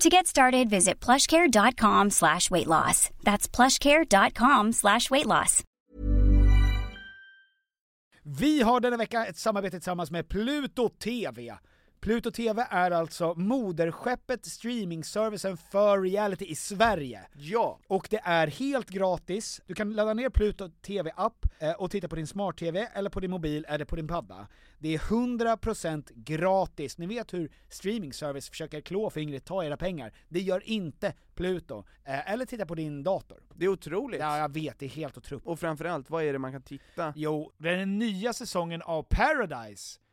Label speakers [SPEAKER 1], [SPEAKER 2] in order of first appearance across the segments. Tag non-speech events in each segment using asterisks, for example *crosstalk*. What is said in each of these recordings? [SPEAKER 1] To get started, visit plushcare.com slash weight loss. That's plushcare.com slash weight loss.
[SPEAKER 2] Vi har denna vecka ett samarbete tillsammans med Pluto TV. Pluto TV är alltså moderskeppet streamingservicen för reality i Sverige.
[SPEAKER 3] Ja.
[SPEAKER 2] Och det är helt gratis. Du kan ladda ner Pluto TV-app eh, och titta på din smart-TV, eller på din mobil, eller på din padda. Det är 100% gratis. Ni vet hur streamingservice försöker klå fingret, ta era pengar. Det gör inte Pluto. Eh, eller titta på din dator.
[SPEAKER 3] Det är otroligt.
[SPEAKER 2] Ja, jag vet, det är helt otroligt.
[SPEAKER 3] Och framförallt, vad är det man kan titta?
[SPEAKER 2] Jo, det är den nya säsongen av Paradise.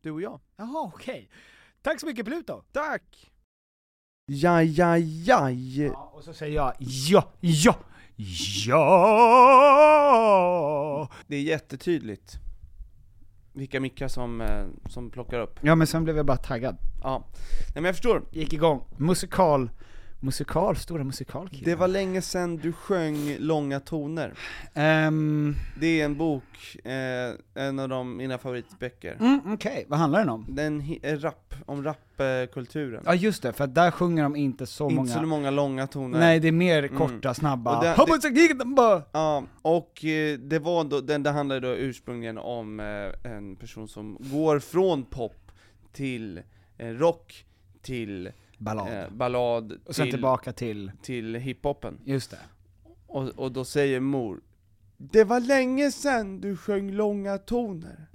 [SPEAKER 3] Du och jag.
[SPEAKER 2] Jaha, okej. Tack så mycket Pluto!
[SPEAKER 3] Tack! Ja, ja, ja.
[SPEAKER 2] Ja, och så säger jag ja, ja, ja!
[SPEAKER 3] Det är jättetydligt vilka mickar som, eh, som plockar upp.
[SPEAKER 2] Ja men sen blev jag bara taggad.
[SPEAKER 3] Ja. Nej men jag förstår.
[SPEAKER 2] Gick igång. Musikal, musikal, stora musikalkillar.
[SPEAKER 3] Det var länge sedan du sjöng långa toner.
[SPEAKER 2] Ehm,
[SPEAKER 3] Det är en bok, eh, en av de, mina favoritböcker.
[SPEAKER 2] mm, okej, vad handlar den om?
[SPEAKER 3] Den hi- är rap, om rapkulturen.
[SPEAKER 2] Ja just det, för att där sjunger de inte så
[SPEAKER 3] Inte
[SPEAKER 2] många...
[SPEAKER 3] så många långa toner.
[SPEAKER 2] Nej, det är mer korta, snabba...
[SPEAKER 3] Och det-
[SPEAKER 2] Hoppas jag gick den bara.
[SPEAKER 3] Ja, och eh, det var då, den, det handlade då ursprungligen om eh, en person som går från pop till eh, rock, till
[SPEAKER 2] Ballad.
[SPEAKER 3] eh, ballad,
[SPEAKER 2] och sen
[SPEAKER 3] till,
[SPEAKER 2] tillbaka till...
[SPEAKER 3] till hiphopen.
[SPEAKER 2] Just det.
[SPEAKER 3] Och, och då säger mor Det var länge sedan du sjöng långa toner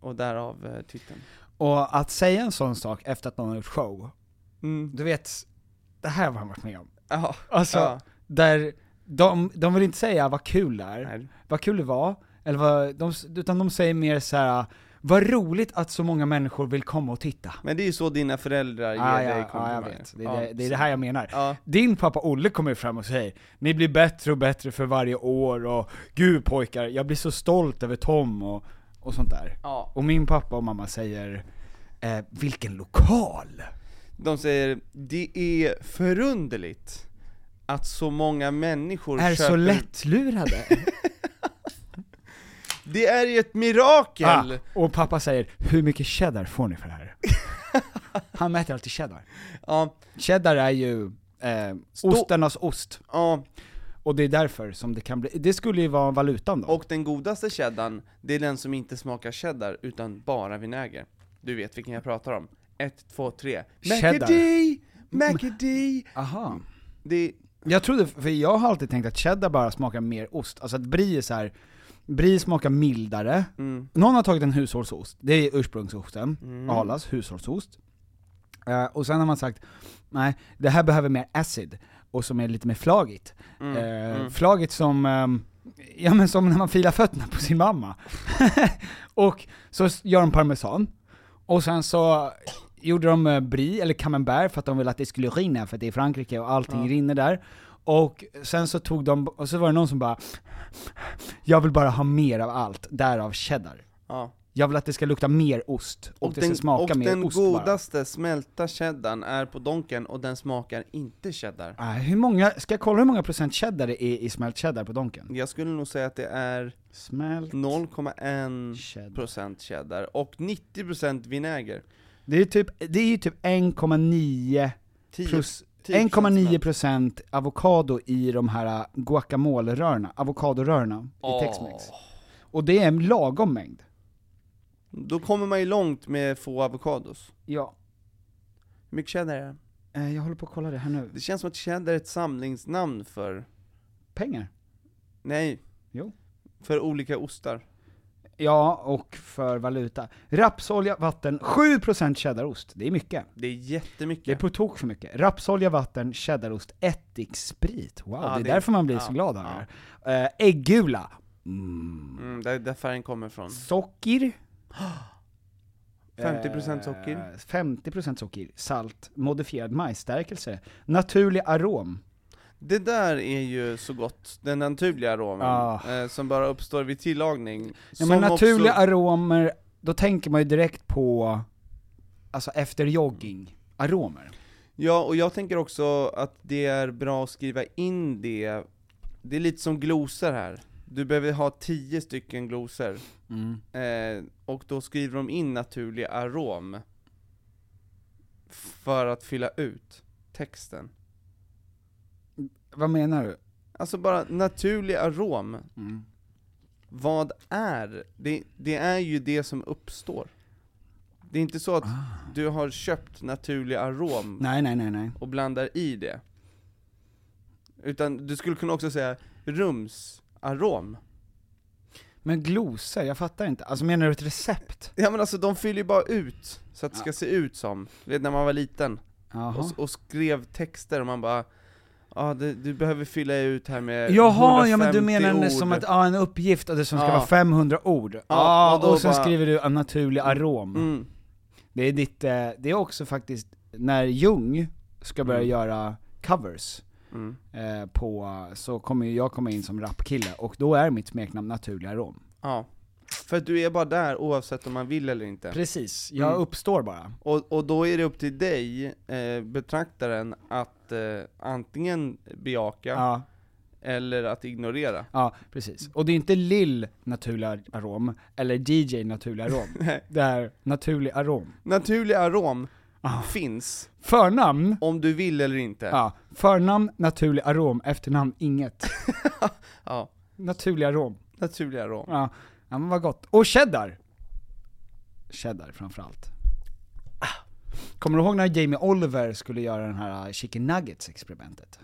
[SPEAKER 3] Och därav eh, titeln
[SPEAKER 2] Mm. Och att säga en sån sak efter att någon har gjort show,
[SPEAKER 3] mm.
[SPEAKER 2] du vet, det här har man varit med om.
[SPEAKER 3] Ja,
[SPEAKER 2] Alltså,
[SPEAKER 3] ja.
[SPEAKER 2] där de, de vill inte säga vad kul det är,
[SPEAKER 3] Nej.
[SPEAKER 2] vad kul det var, eller vad, de, utan de säger mer så här. vad roligt att så många människor vill komma och titta.
[SPEAKER 3] Men det är ju så dina föräldrar ger
[SPEAKER 2] Ah,
[SPEAKER 3] dig
[SPEAKER 2] ja, ja, jag
[SPEAKER 3] komplimanger
[SPEAKER 2] vet. Det är,
[SPEAKER 3] Ja,
[SPEAKER 2] det, det är
[SPEAKER 3] så-
[SPEAKER 2] det här jag menar.
[SPEAKER 3] Ja.
[SPEAKER 2] Din pappa Olle kommer ju fram och säger 'Ni blir bättre och bättre för varje år' och 'Gud pojkar, jag blir så stolt över Tom' och, och sånt där.
[SPEAKER 3] Ja.
[SPEAKER 2] Och min pappa och mamma säger eh, 'Vilken lokal!'
[SPEAKER 3] De säger Det är förunderligt att så många människor
[SPEAKER 2] Är
[SPEAKER 3] köper...
[SPEAKER 2] så
[SPEAKER 3] *laughs*
[SPEAKER 2] lättlurade.
[SPEAKER 3] Det är ju ett mirakel!
[SPEAKER 2] ah, och pappa säger 'Hur mycket cheddar får ni för det
[SPEAKER 3] *laughs*
[SPEAKER 2] här?' Han mäter alltid cheddar.
[SPEAKER 3] Ja,
[SPEAKER 2] Cheddar är ju eh, ostarnas ost,
[SPEAKER 3] ja,
[SPEAKER 2] och det är därför som det kan bli, det skulle ju vara valutan då.
[SPEAKER 3] och den godaste cheddarn, det är den som inte smakar cheddar utan bara vinäger Du vet vilken jag pratar om, Ett, två, tre.
[SPEAKER 2] Cheddar. Mm.
[SPEAKER 3] Macadee! Macadee!
[SPEAKER 2] Aha.
[SPEAKER 3] Det,
[SPEAKER 2] Jag trodde, för jag har alltid tänkt att cheddar bara smakar mer ost, alltså att brie är så här. Brie smakar mildare, någon har tagit en hushållsost, det är ursprungsosten, Arlas hushållsost. Eh, och sen har man sagt, nej det här behöver mer acid, och som är lite mer flagigt. Eh, Flagigt som, ehm, ja men som när man filar fötterna på sin mamma. *laughs* och så s- gör de parmesan, och sen så gjorde de eh, brie, eller camembert, för att de ville att det skulle rinna, för att det är Frankrike och allting rinner där. Och sen så tog de, och så var det någon som bara Jag vill bara ha mer av allt, därav cheddar.
[SPEAKER 3] Ja.
[SPEAKER 2] Jag vill att det ska lukta mer ost, och, det
[SPEAKER 3] den,
[SPEAKER 2] ska smaka
[SPEAKER 3] och
[SPEAKER 2] mer
[SPEAKER 3] den
[SPEAKER 2] ost bara.
[SPEAKER 3] godaste smälta cheddarn är på donken och den smakar inte cheddar.
[SPEAKER 2] Ah, hur många, ska jag kolla hur många procent cheddar det är i smält cheddar på donken?
[SPEAKER 3] Jag skulle nog säga att det är
[SPEAKER 2] Smält
[SPEAKER 3] 0,1%
[SPEAKER 2] cheddar.
[SPEAKER 3] procent cheddar och 90% vinäger.
[SPEAKER 2] Det är typ, det är ju typ 1,9
[SPEAKER 3] 10
[SPEAKER 2] plus
[SPEAKER 3] 10%
[SPEAKER 2] 1,9% avokado i de här äh, guacamole-rörna, avokadorörna i
[SPEAKER 3] Åh.
[SPEAKER 2] Tex-Mex. Och det är en lagom mängd.
[SPEAKER 3] Då kommer man ju långt med få avokados.
[SPEAKER 2] Ja.
[SPEAKER 3] Hur mycket cheddar är det?
[SPEAKER 2] Eh, jag håller på att kolla det här nu.
[SPEAKER 3] Det känns som att cheddar är ett samlingsnamn för,
[SPEAKER 2] Pengar?
[SPEAKER 3] nej,
[SPEAKER 2] Jo.
[SPEAKER 3] för olika ostar.
[SPEAKER 2] Ja, och för valuta. Rapsolja, vatten, 7% cheddarost. Det är mycket.
[SPEAKER 3] Det är jättemycket.
[SPEAKER 2] Det är på tok för mycket. Rapsolja, vatten, cheddarost, ättiksprit. Wow,
[SPEAKER 3] Ja,
[SPEAKER 2] det är
[SPEAKER 3] det-
[SPEAKER 2] därför man blir
[SPEAKER 3] ja,
[SPEAKER 2] så glad av
[SPEAKER 3] ja.
[SPEAKER 2] det här. Eh, äggula. Mm.
[SPEAKER 3] mm, där, där färgen kommer ifrån.
[SPEAKER 2] Socker.
[SPEAKER 3] 50%
[SPEAKER 2] Eh,
[SPEAKER 3] socker.
[SPEAKER 2] 50% socker, salt, modifierad majsstärkelse, naturlig arom.
[SPEAKER 3] Det där är ju så gott, den naturliga aromen,
[SPEAKER 2] Ah.
[SPEAKER 3] eh, som bara uppstår vid tillagning.
[SPEAKER 2] Ja, men
[SPEAKER 3] Som också-
[SPEAKER 2] naturliga aromer, då tänker man ju direkt på, alltså efter
[SPEAKER 3] Mm.
[SPEAKER 2] jogging, aromer.
[SPEAKER 3] Ja, och jag tänker också att det är bra att skriva in det, det är lite som glosor här. Du behöver ha 10 stycken glosor, eh, och då skriver de in naturlig arom. För att fylla ut texten.
[SPEAKER 2] Vad menar du?
[SPEAKER 3] Alltså bara naturlig arom, vad är? Det, det är ju det som uppstår. Det är inte så att du har köpt naturlig arom
[SPEAKER 2] Nej, nej, nej, nej.
[SPEAKER 3] och blandar i det. Utan du skulle kunna också säga rumsarom.
[SPEAKER 2] Men glosor, jag fattar inte. Alltså menar du ett recept?
[SPEAKER 3] Ja men alltså de fyller ju bara ut, så att det ska se ut som, du vet när man var liten, och,
[SPEAKER 2] Jaha.
[SPEAKER 3] s- och skrev texter och man bara Ja, det- du behöver fylla ut här med
[SPEAKER 2] Jaha, ja men du
[SPEAKER 3] 150
[SPEAKER 2] menar det
[SPEAKER 3] Eh, ord.
[SPEAKER 2] som att, ja en uppgift och det som ska
[SPEAKER 3] Ja.
[SPEAKER 2] vara 500 ord. Ja,
[SPEAKER 3] och
[SPEAKER 2] och,
[SPEAKER 3] då
[SPEAKER 2] sen
[SPEAKER 3] bara-
[SPEAKER 2] skriver du en naturlig arom.
[SPEAKER 3] mm.
[SPEAKER 2] Det är ditt, eh, det är också faktiskt när Jung ska börja göra covers
[SPEAKER 3] Mm.
[SPEAKER 2] eh, på, så kommer ju jag komma in som rapkille, och då är mitt smeknamn naturliga rom.
[SPEAKER 3] Ja, för att du är bara där oavsett om man vill eller inte.
[SPEAKER 2] Precis, jag
[SPEAKER 3] Mm.
[SPEAKER 2] uppstår bara.
[SPEAKER 3] Och, och då är det upp till dig, eh, betraktaren, att eh, antingen bejaka
[SPEAKER 2] Ja. ja,
[SPEAKER 3] eller att ignorera.
[SPEAKER 2] precis. Och det är inte lill naturliga arom, eller DJ naturliga arom.
[SPEAKER 3] *laughs* Nej.
[SPEAKER 2] det är naturlig arom.
[SPEAKER 3] Naturlig arom
[SPEAKER 2] Ah.
[SPEAKER 3] finns,
[SPEAKER 2] Förnamn,
[SPEAKER 3] om du vill eller inte.
[SPEAKER 2] ja. Förnamn, naturlig arom, efternamn, inget.
[SPEAKER 3] *laughs* Ja,
[SPEAKER 2] naturlig arom.
[SPEAKER 3] Naturlig arom.
[SPEAKER 2] Ja, ja men vad gott. Och cheddar! Cheddar framförallt. Ah. Kommer du ihåg när Jamie Oliver skulle göra den här uh, chicken nuggets experimentet?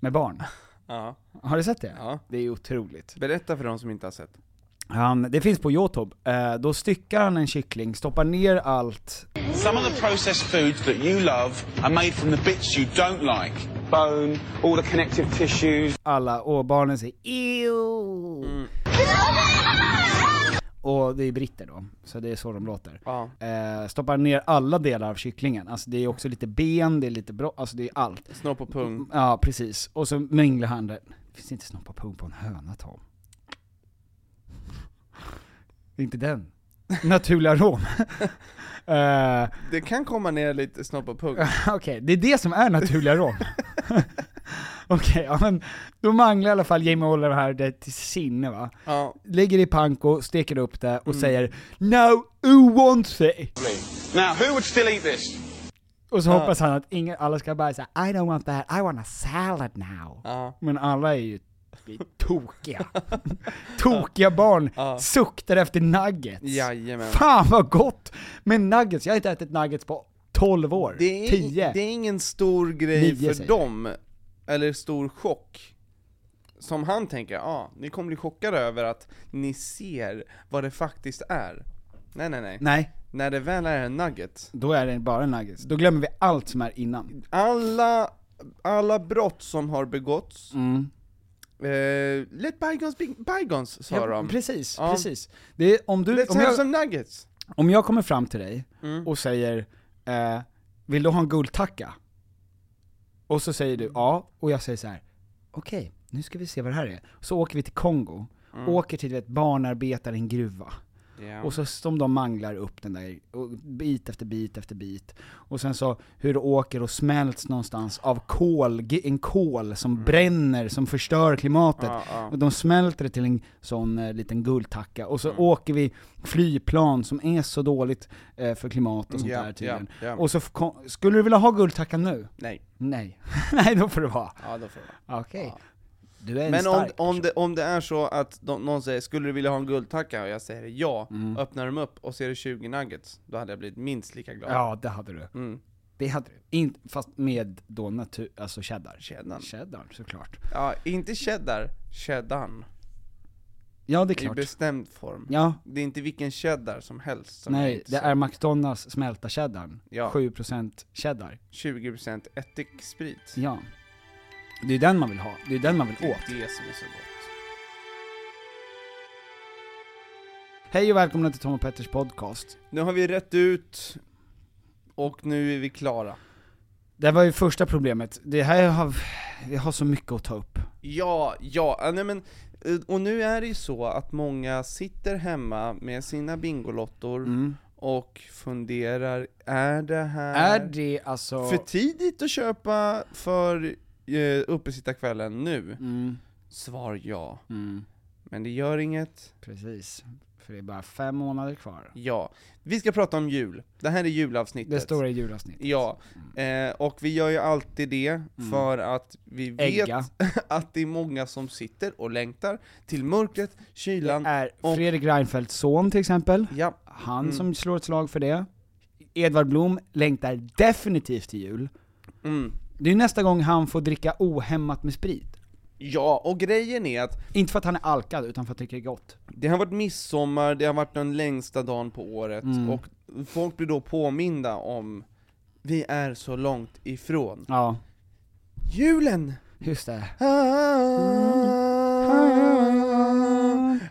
[SPEAKER 2] Med barn.
[SPEAKER 3] Ja.
[SPEAKER 2] Har du sett det?
[SPEAKER 3] ja.
[SPEAKER 2] Det är otroligt.
[SPEAKER 3] Berätta för de som inte har sett.
[SPEAKER 2] Han, det finns på Youtube. Eh, då styckar han en kyckling, stoppar ner allt.
[SPEAKER 4] Some of the processed foods that you love are made from the bits you don't like bone, all the connective tissues.
[SPEAKER 2] alla och barnen säger EU. Och det är britter då, så det är så de låter.
[SPEAKER 3] Ja.
[SPEAKER 2] Eh, stoppar ner alla delar av kycklingen, alltså det är också lite ben, det är lite bra, alltså det är allt.
[SPEAKER 3] Snopp och pung.
[SPEAKER 2] Ja precis, och så minglar han det. Finns det inte snopp och pung på en höna Tom? Det är inte den. Naturliga rom. *laughs* eh,
[SPEAKER 3] Det kan komma ner lite snopp och pung.
[SPEAKER 2] Okej, det är det som är naturliga
[SPEAKER 3] *laughs*
[SPEAKER 2] rom. Okej, ja men då manglar i alla fall Jamie Oliver här det till sinne va.
[SPEAKER 3] Ja. Mm.
[SPEAKER 2] Lägger i panko, steker upp det och säger 'No, who wants it?'
[SPEAKER 4] Now, who would still eat this?
[SPEAKER 2] Och så hoppas han att ingen, alla ska bara säga 'I don't want that, I want a salad now'
[SPEAKER 3] Ja.
[SPEAKER 2] Men alla är ju tokiga.
[SPEAKER 3] *laughs*
[SPEAKER 2] *laughs* tokiga barn suktar efter nuggets.
[SPEAKER 3] Jajamän.
[SPEAKER 2] Fan vad gott! Men nuggets, jag har inte ätit nuggets på 12 år,
[SPEAKER 3] Det är,
[SPEAKER 2] 10.
[SPEAKER 3] det är ingen stor grej
[SPEAKER 2] Nio,
[SPEAKER 3] för
[SPEAKER 2] säger
[SPEAKER 3] dem, eller stor chock. Som han tänker, ja, ah, ni kommer bli chockade över att ni ser vad det faktiskt är. Nej, nej, nej.
[SPEAKER 2] Nej,
[SPEAKER 3] När det väl är en nugget,
[SPEAKER 2] Då är det bara nuggets. Då glömmer vi allt som är innan. Mm.
[SPEAKER 3] alla, alla brott som har begåtts Eh, let bygons be bygons, sa de.
[SPEAKER 2] Precis,
[SPEAKER 3] Ja.
[SPEAKER 2] precis. Det är, om, du,
[SPEAKER 3] Let's
[SPEAKER 2] om,
[SPEAKER 3] have
[SPEAKER 2] jag,
[SPEAKER 3] some nuggets.
[SPEAKER 2] om jag kommer fram till dig
[SPEAKER 3] Mm.
[SPEAKER 2] och säger eh, 'Vill du ha en guldtacka?' Och så säger du ja, och jag säger så här. okej, nu ska vi se vad det här är. Så åker vi till Kongo,
[SPEAKER 3] Mm.
[SPEAKER 2] åker till du vet, barnarbetare i en gruva.
[SPEAKER 3] Ja.
[SPEAKER 2] Och så som de manglar upp den där, och bit efter bit efter bit. Och sen så hur det åker och smälts någonstans av kol, ge- en kol som bränner, som förstör klimatet.
[SPEAKER 3] Mm. Ja, ja.
[SPEAKER 2] Och de smälter det till en sån eh, liten guldtacka. Och
[SPEAKER 3] Mm.
[SPEAKER 2] så åker vi flygplan som är så dåligt eh, för klimat och sånt
[SPEAKER 3] Mm, Ja,
[SPEAKER 2] där tydligen.
[SPEAKER 3] ja, ja.
[SPEAKER 2] Och så f- kom, skulle du vilja ha guldtackan nu?
[SPEAKER 3] Nej.
[SPEAKER 2] Nej. *laughs* Nej, då får det vara.
[SPEAKER 3] Ja, då får jag.
[SPEAKER 2] Okej. Du är en
[SPEAKER 3] Men om,
[SPEAKER 2] stark
[SPEAKER 3] om,
[SPEAKER 2] person.
[SPEAKER 3] det, om det är så att de, någon säger 'Skulle du vilja ha en guldtacka?' och jag säger ja,
[SPEAKER 2] Mm.
[SPEAKER 3] öppnar de upp och ser det 20 nuggets, då hade jag blivit minst lika glad.
[SPEAKER 2] Ja, det hade du.
[SPEAKER 3] Mm.
[SPEAKER 2] Det hade du. In, fast med då natur, alltså cheddar.
[SPEAKER 3] Cheddarn.
[SPEAKER 2] Cheddar, såklart.
[SPEAKER 3] Ja, inte cheddar, cheddarn.
[SPEAKER 2] Ja, det är
[SPEAKER 3] I
[SPEAKER 2] klart.
[SPEAKER 3] bestämd form.
[SPEAKER 2] Ja.
[SPEAKER 3] Det är inte vilken cheddar som helst som
[SPEAKER 2] Nej,
[SPEAKER 3] inte
[SPEAKER 2] det är McDonalds smälta cheddarn.
[SPEAKER 3] Ja.
[SPEAKER 2] 7% cheddar.
[SPEAKER 3] 20% ättiksprit.
[SPEAKER 2] Ja. Det är den man vill ha. Det är den man
[SPEAKER 3] Det
[SPEAKER 2] vill åt.
[SPEAKER 3] är det som är så gott.
[SPEAKER 2] Hej och välkomna till Tom och Petters podcast.
[SPEAKER 3] Nu har vi rätt ut, och nu är vi klara.
[SPEAKER 2] Det här var ju första problemet. Det här har... Vi har så mycket att ta upp.
[SPEAKER 3] Mm. Ja, ja, ja, nej men, eh, och nu är det ju så att många sitter hemma med sina Bingolottor
[SPEAKER 2] Mm.
[SPEAKER 3] och funderar, är det här
[SPEAKER 2] Är det alltså...
[SPEAKER 3] för tidigt att köpa för eh, uppesittarkvällen nu?
[SPEAKER 2] Mm.
[SPEAKER 3] Svar ja. Men det gör inget,
[SPEAKER 2] Precis. För det är bara fem månader kvar.
[SPEAKER 3] ja. Vi ska prata om jul, det här är julavsnittet.
[SPEAKER 2] Det stora julavsnittet.
[SPEAKER 3] Ja, eh, och vi gör ju alltid det för att vi vet
[SPEAKER 2] Mm. Ägga.
[SPEAKER 3] *laughs* att det är många som sitter och längtar till mörkret, kylan
[SPEAKER 2] Är
[SPEAKER 3] och... Mm.
[SPEAKER 2] Fredrik Reinfeldts son till exempel.
[SPEAKER 3] Ja,
[SPEAKER 2] Han som slår ett slag för det. Edvard Blom längtar definitivt till jul.
[SPEAKER 3] mm.
[SPEAKER 2] Det är nästa gång han får dricka ohämmat med sprit.
[SPEAKER 3] ja, och grejen är att
[SPEAKER 2] Inte för att han är alkad, utan för att det är gott.
[SPEAKER 3] det har varit midsommar, det har varit den längsta dagen på året, och folk blir då påminda om vi är så långt ifrån
[SPEAKER 2] Ja,
[SPEAKER 3] julen! Ah,
[SPEAKER 2] just det.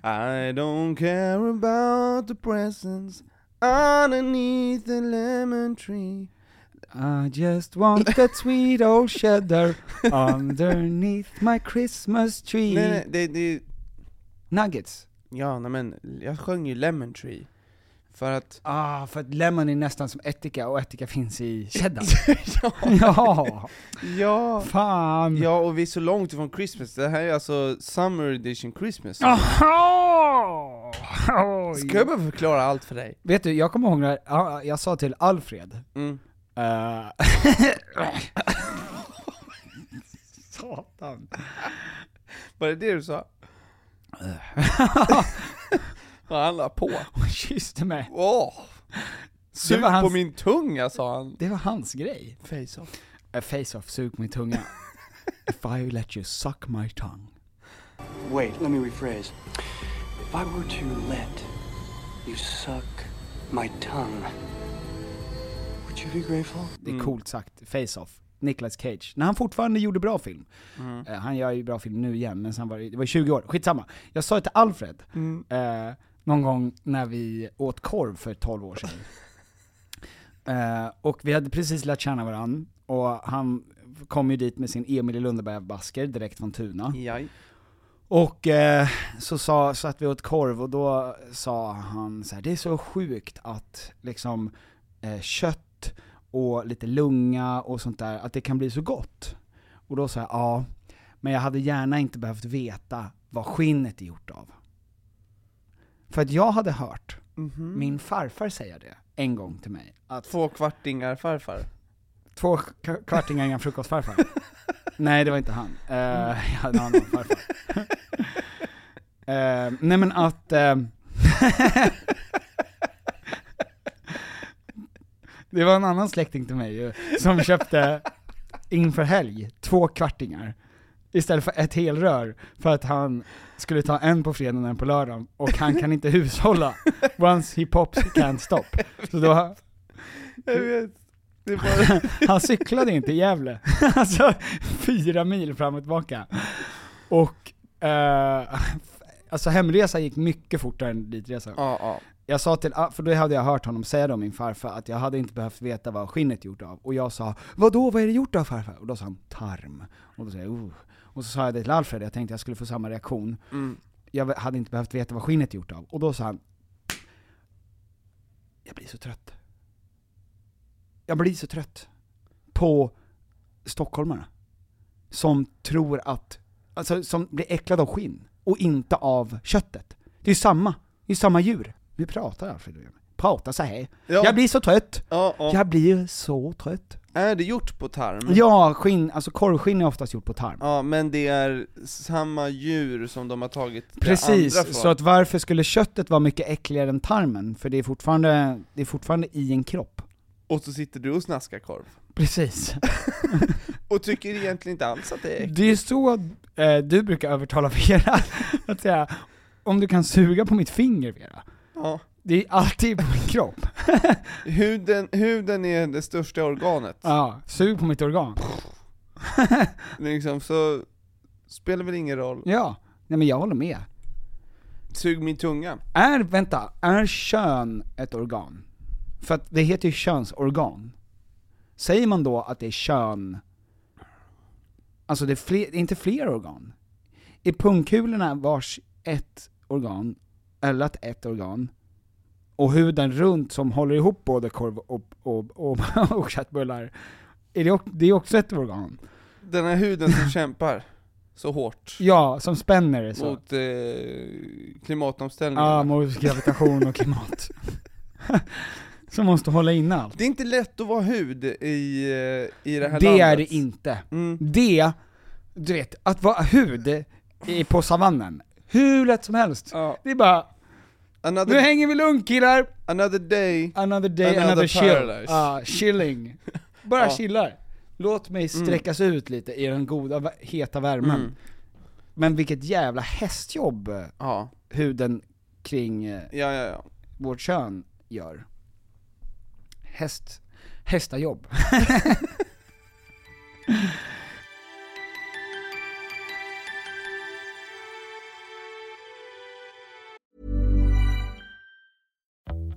[SPEAKER 3] I don't care about the presents underneath the lemon tree *laughs*
[SPEAKER 2] I just want that sweet old cheddar underneath my Christmas tree.
[SPEAKER 3] Nej nej, det, det,
[SPEAKER 2] Nuggets.
[SPEAKER 3] ja nej men, jag sjöng ju lemon tree För att,
[SPEAKER 2] Ah, för att lemon är nästan som ättika och ättika finns i cheddar.
[SPEAKER 3] *laughs* ja,
[SPEAKER 2] ja,
[SPEAKER 3] ja,
[SPEAKER 2] fan.
[SPEAKER 3] ja och vi är så långt ifrån Christmas, det här är alltså summer edition Christmas
[SPEAKER 2] Ah. Aha! Oj.
[SPEAKER 3] Ska jag behöva förklara allt för dig?
[SPEAKER 2] Vet du, jag kommer ihåg när ja, jag sa till Alfred
[SPEAKER 3] Mm.
[SPEAKER 2] eh, *laughs* Satan.
[SPEAKER 3] Var det det
[SPEAKER 2] *laughs*
[SPEAKER 3] du sa? Och han la på,
[SPEAKER 2] Hon kysste mig.
[SPEAKER 3] åh! Sug
[SPEAKER 2] var
[SPEAKER 3] på
[SPEAKER 2] hans-
[SPEAKER 3] min tunga sa han
[SPEAKER 2] Det var hans grej.
[SPEAKER 3] Face off
[SPEAKER 2] A face-off, sug min *laughs* tunga. If I let you suck my tongue.
[SPEAKER 5] Wait, let me rephrase. If I were to let you suck my tongue, would you be grateful?
[SPEAKER 2] Det är coolt sagt, face-off. Nicolas Cage, när han fortfarande gjorde bra film. Eh, han gör ju bra film nu igen, men sen var det, det var 20 år, skitsamma. Jag sa det till Alfred, eh, någon gång när vi åt korv för 12 år sedan. Eh, och vi hade precis lärt känna varandra, och han kom ju dit med sin Emil i Lönneberga-basker direkt från Tuna.
[SPEAKER 3] Jaj.
[SPEAKER 2] Och eh, så sa, satt vi åt korv och då sa han så här: det är så sjukt att liksom eh, kött och lite lunga och sånt där, att det kan bli så gott. Och då sa jag, ja, men jag hade gärna inte behövt veta vad skinnet är gjort av. För att jag hade hört min farfar säga det en gång till mig, att
[SPEAKER 3] Mhm. Två kvartingar farfar
[SPEAKER 2] Två k- kvartingar innan frukostfarfar. nej, det var inte han. Eh, jag hade en annan farfar. Eh, *laughs* nej men att... ehm, det var en annan släkting till mig ju, som köpte inför helg två kvartingar. Istället för ett helrör, för att han skulle ta en på fredagen och en på lördagen, och han kan inte hushålla. Once he pops, he can't stop. Så då,
[SPEAKER 3] Jag vet, det är bara,
[SPEAKER 2] han *laughs* cyklade inte i Gävle. Alltså, fyra mil fram och tillbaka. Och Eh, alltså hemresan gick mycket fortare än ditresan.
[SPEAKER 3] *laughs* Ja, ja.
[SPEAKER 2] Jag sa till, ah, för då hade jag hört honom säga det om min farfar, att jag hade inte behövt veta vad skinnet gjort av. Och jag sa, vadå, vad är det gjort av farfar? Och då sa han, tarm. Och då sa jag, oh. Och så sa jag det till Alfred, jag tänkte jag skulle få samma reaktion.
[SPEAKER 3] Mm.
[SPEAKER 2] Jag v- hade inte behövt veta vad skinnet gjort av. Och då sa han, jag blir så trött. Jag blir så trött på stockholmare. Som tror att, alltså som blir äcklade av skinn och inte av köttet. Det är ju samma, det är ju samma djur. Nu pratar Alfred och jag. Prata så här.
[SPEAKER 3] Ja.
[SPEAKER 2] Jag blir så trött.
[SPEAKER 3] ja, ja. Mm.
[SPEAKER 2] Jag blir så trött.
[SPEAKER 3] Är det gjort på tarm?
[SPEAKER 2] Ja, skinn, alltså korvskinn är oftast gjort på tarm.
[SPEAKER 3] Ja, men det är samma djur som de har tagit det andra från.
[SPEAKER 2] Precis, så att varför skulle köttet vara mycket äckligare än tarmen? För det är fortfarande, det är fortfarande i en kropp.
[SPEAKER 3] Och så sitter du och snaskar korv.
[SPEAKER 2] Precis.
[SPEAKER 3] Och tycker egentligen inte alls att det
[SPEAKER 2] *laughs*
[SPEAKER 3] är
[SPEAKER 2] Det är så eh, du brukar övertala Vera, *laughs* att säga om du kan suga på mitt finger Vera.
[SPEAKER 3] ja.
[SPEAKER 2] Det är alltid på min kropp. *laughs*
[SPEAKER 3] huden, huden är det största organet.
[SPEAKER 2] Ja, sug på mitt organ.
[SPEAKER 3] Liksom, så spelar väl ingen roll.
[SPEAKER 2] Ja, nej men jag håller med.
[SPEAKER 3] Sug min tunga.
[SPEAKER 2] Är, vänta, är kön ett organ? För att det heter ju könsorgan. Säger man då att det är kön, alltså det är, fler, det är inte fler organ? Är pungkulorna vars ett organ, eller att ett organ, och huden runt som håller ihop både korv och, och, och, *laughs* och köttbullar, är det, ock- det är också ett organ?
[SPEAKER 3] Den här huden
[SPEAKER 2] *laughs*
[SPEAKER 3] som kämpar så hårt
[SPEAKER 2] Ja, som spänner det så.
[SPEAKER 3] mot eh, klimatomställningen.
[SPEAKER 2] Ja, mot gravitation och klimat. *laughs* som måste hålla in allt.
[SPEAKER 3] det är inte lätt att vara hud i, eh, i det här
[SPEAKER 2] Det
[SPEAKER 3] landet.
[SPEAKER 2] är det inte.
[SPEAKER 3] Mm.
[SPEAKER 2] Det, du vet, att vara hud i- på savannen, hur lätt som helst.
[SPEAKER 3] Ja.
[SPEAKER 2] Det är bara, nu
[SPEAKER 3] Another,
[SPEAKER 2] hänger vi lugnt killar,
[SPEAKER 3] another day.
[SPEAKER 2] another day,
[SPEAKER 3] Another
[SPEAKER 2] another, chill.
[SPEAKER 3] paradise.
[SPEAKER 2] Ja, chilling. Bara
[SPEAKER 3] *laughs* Ja.
[SPEAKER 2] chillar. Låt mig sträckas ut lite i den goda, va- heta värmen.
[SPEAKER 3] Mm.
[SPEAKER 2] Men vilket jävla hästjobb eh,
[SPEAKER 3] Ja,
[SPEAKER 2] huden kring eh,
[SPEAKER 3] ja, ja. ja.
[SPEAKER 2] vårt kön gör. Häst, hästajobb.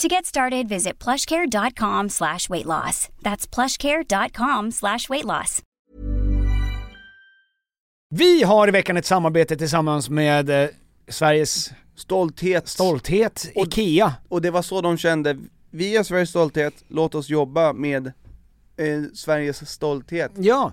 [SPEAKER 1] To get started, visit plushcare.com slash weight loss. That's plushcare.com slash weight loss.
[SPEAKER 2] Vi har i veckan ett samarbete tillsammans med eh, Sveriges
[SPEAKER 3] Stolthet.
[SPEAKER 2] stolthet, IKEA.
[SPEAKER 3] Och det var så de kände, vi är Sveriges stolthet, låt oss jobba med eh, Sveriges stolthet.
[SPEAKER 2] Ja,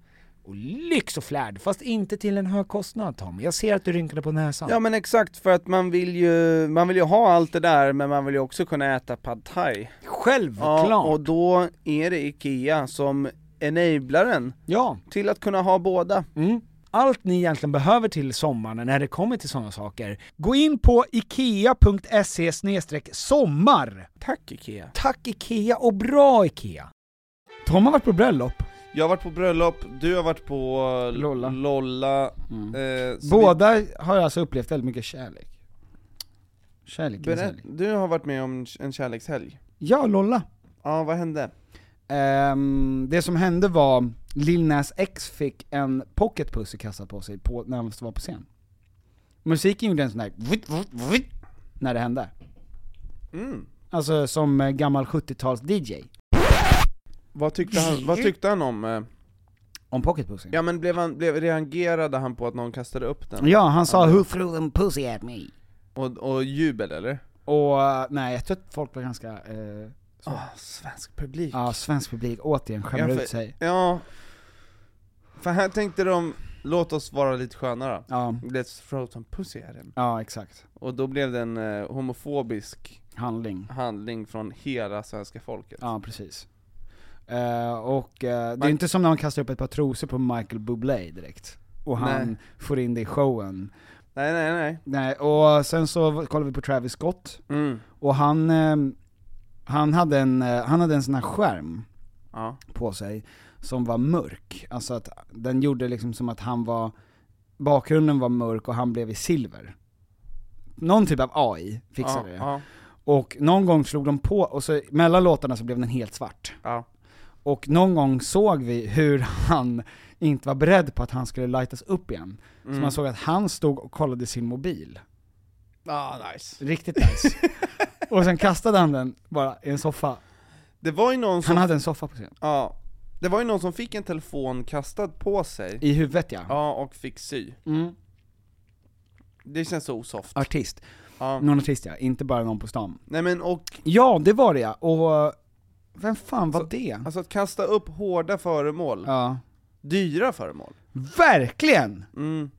[SPEAKER 6] och lyx och flärd, fast inte till en hög kostnad Tom. Jag ser att du rynkade på näsan.
[SPEAKER 3] Ja men exakt, för att man vill ju, man vill ju ha allt det där men man vill ju också kunna äta pad thai.
[SPEAKER 6] Självklart!
[SPEAKER 3] Ja, och då är det IKEA som enablaren
[SPEAKER 6] ja.
[SPEAKER 3] till att kunna ha båda.
[SPEAKER 6] Mm. Allt ni egentligen behöver till sommaren när det kommer till sådana saker, gå in på ikea.se sommar.
[SPEAKER 3] Tack IKEA.
[SPEAKER 6] Tack Ikea och bra Ikea! Tom har varit på bröllop.
[SPEAKER 3] Jag har varit på bröllop, du har varit på eh,
[SPEAKER 6] Lolla.
[SPEAKER 3] Lolla. Eh, så
[SPEAKER 6] Båda har alltså upplevt väldigt mycket kärlek. Kärlek,
[SPEAKER 3] vi-
[SPEAKER 6] i
[SPEAKER 3] Berä,
[SPEAKER 6] kärlek.
[SPEAKER 3] du har varit med om en kärlekshelg.
[SPEAKER 2] Ja, Lolla.
[SPEAKER 3] Ja, vad hände?
[SPEAKER 2] Ehm, det som hände var, Lil Nas X fick en pocketpussy kastad på sig på, när han var på scen. Musiken gjorde en sån där vitt, vitt, vitt, när det hände.
[SPEAKER 3] Mm.
[SPEAKER 2] Alltså som eh, gammal 70-tals DJ.
[SPEAKER 3] Vad tyckte han, vad tyckte han om? eh,
[SPEAKER 2] Om pocketpussy.
[SPEAKER 3] Ja men blev han, blev, reagerade han på att någon kastade upp den?
[SPEAKER 2] Ja, han sa 'Who threw them pussy at me?'
[SPEAKER 3] Och, och jubel eller?
[SPEAKER 2] Och eh, nej, jag tror att folk var ganska, eh,
[SPEAKER 3] Åh, svensk publik.
[SPEAKER 2] ja svensk publik återigen skämmer
[SPEAKER 3] Ja, för-
[SPEAKER 2] ut sig.
[SPEAKER 3] Ja, för här tänkte de, låt oss vara lite skönare.
[SPEAKER 2] Ja,
[SPEAKER 3] Let's throw some pussy at him.
[SPEAKER 2] ja exakt.
[SPEAKER 3] Och då blev det en eh, homofobisk
[SPEAKER 2] Handling.
[SPEAKER 3] handling från hela svenska folket.
[SPEAKER 2] Ja, precis. Eh, och eh, det är
[SPEAKER 3] Man-
[SPEAKER 2] inte som när man kastar upp ett par trosor på Michael Bublé direkt. Och han
[SPEAKER 3] Nej.
[SPEAKER 2] får in det i showen.
[SPEAKER 3] Nej nej nej.
[SPEAKER 2] Nej, och sen så kollar vi på Travis Scott,
[SPEAKER 3] Mm.
[SPEAKER 2] och han, eh, han, hade en, eh, han hade en sån här skärm
[SPEAKER 3] Ja.
[SPEAKER 2] på sig som var mörk. Alltså att den gjorde liksom som att han var, bakgrunden var mörk och han blev i silver. Någon typ av AI fixade
[SPEAKER 3] ja,
[SPEAKER 2] det.
[SPEAKER 3] Ja.
[SPEAKER 2] Och någon gång slog de på, och så mellan låtarna så blev den helt svart.
[SPEAKER 3] Ja.
[SPEAKER 2] Och någon gång såg vi hur han inte var beredd på att han skulle lightas upp igen.
[SPEAKER 3] Mm.
[SPEAKER 2] Så man såg att han stod och kollade sin mobil.
[SPEAKER 3] Ah, nice.
[SPEAKER 2] Riktigt nice. och sen kastade han den bara i en soffa.
[SPEAKER 3] Det var ju någon som,
[SPEAKER 2] Han hade en soffa på sig.
[SPEAKER 3] ja. Det var ju någon som fick en telefon kastad på sig.
[SPEAKER 2] I huvudet ja.
[SPEAKER 3] Ja, och fick sy.
[SPEAKER 2] Mm.
[SPEAKER 3] Det känns så osoft.
[SPEAKER 2] Artist.
[SPEAKER 3] Ja.
[SPEAKER 2] Någon artist ja, inte bara någon på stan.
[SPEAKER 3] Nej men och,
[SPEAKER 2] Ja, det var det ja. Och vem fan var
[SPEAKER 3] Så-
[SPEAKER 2] det?
[SPEAKER 3] alltså att kasta upp hårda föremål,
[SPEAKER 2] Ja.
[SPEAKER 3] dyra föremål.
[SPEAKER 2] Verkligen!
[SPEAKER 3] Mm.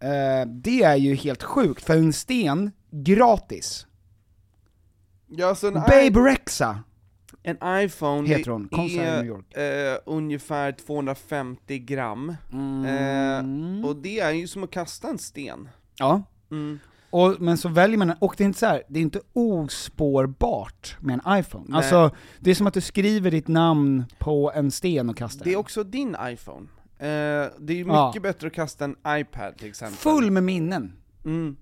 [SPEAKER 2] Eh, det är ju helt sjukt, för en sten, gratis.
[SPEAKER 3] Ja, alltså en
[SPEAKER 2] Babe Rexa!
[SPEAKER 3] En iPhone det
[SPEAKER 2] Heter hon, konstnär i
[SPEAKER 3] är
[SPEAKER 2] New York.
[SPEAKER 3] eh, ungefär 250 gram,
[SPEAKER 2] Mm.
[SPEAKER 3] eh, och det är ju som att kasta en sten.
[SPEAKER 2] Ja.
[SPEAKER 3] Mm.
[SPEAKER 2] Och, men så väljer man den, och det är inte så här, det är inte ospårbart med en iPhone. Alltså, det är som att du skriver ditt namn på en sten och kastar
[SPEAKER 3] Det är
[SPEAKER 2] den.
[SPEAKER 3] också din iPhone. Eh, det är ju mycket
[SPEAKER 2] Ja.
[SPEAKER 3] bättre att kasta en iPad till exempel.
[SPEAKER 2] Full med minnen
[SPEAKER 3] Mm.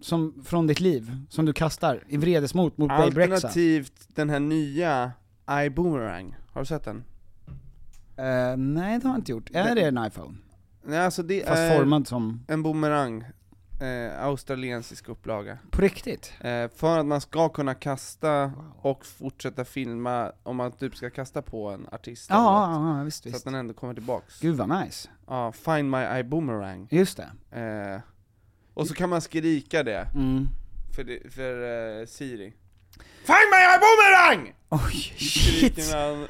[SPEAKER 2] som, från ditt liv, som du kastar i vredesmod mot Babe alltså. Rexa.
[SPEAKER 3] Alternativt den här nya iBoomerang, har du sett den?
[SPEAKER 2] Eh, nej det har jag inte gjort. Är det en iPhone?
[SPEAKER 3] Nej alltså det
[SPEAKER 2] Fast
[SPEAKER 3] är
[SPEAKER 2] formad som,
[SPEAKER 3] en boomerang, eh, australiensisk upplaga.
[SPEAKER 2] på riktigt?
[SPEAKER 3] Eh, för att man ska kunna kasta och fortsätta filma om man typ ska kasta på en artist
[SPEAKER 2] Ja,
[SPEAKER 3] eller något.
[SPEAKER 2] ja, ja, visst
[SPEAKER 3] Så att
[SPEAKER 2] visst.
[SPEAKER 3] den ändå kommer tillbaks.
[SPEAKER 2] Gud vad nice.
[SPEAKER 3] Ja, find my eye boomerang.
[SPEAKER 2] Just det.
[SPEAKER 3] Eh, och så kan man skrika det,
[SPEAKER 2] Mm.
[SPEAKER 3] för, det- för eh, Siri. Find my eye boomerang!
[SPEAKER 2] Oj,
[SPEAKER 3] Skriker
[SPEAKER 2] shit.
[SPEAKER 3] man,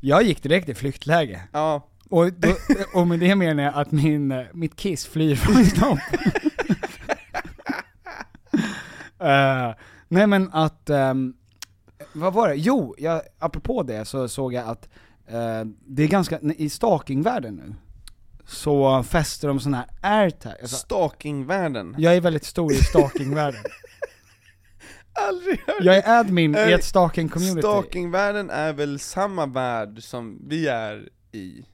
[SPEAKER 2] Jag gick direkt i flyktläge.
[SPEAKER 3] ja.
[SPEAKER 2] Och, då, och med det menar jag att min, eh, mitt kiss flyr från min snopp. *laughs* Eh, nej men att, ehm, vad var det? Jo, jag, apropå det så såg jag att eh, det är ganska, i stalkingvärlden nu, så fäster de sådana här airtag. Alltså,
[SPEAKER 3] Stalkingvärlden.
[SPEAKER 2] jag är väldigt stor i stalkingvärlden.
[SPEAKER 3] *laughs* Aldrig hört.
[SPEAKER 2] Jag är admin i
[SPEAKER 3] Eh,
[SPEAKER 2] ett stalking-community.
[SPEAKER 3] Stalkingvärlden är väl samma värld som vi är i?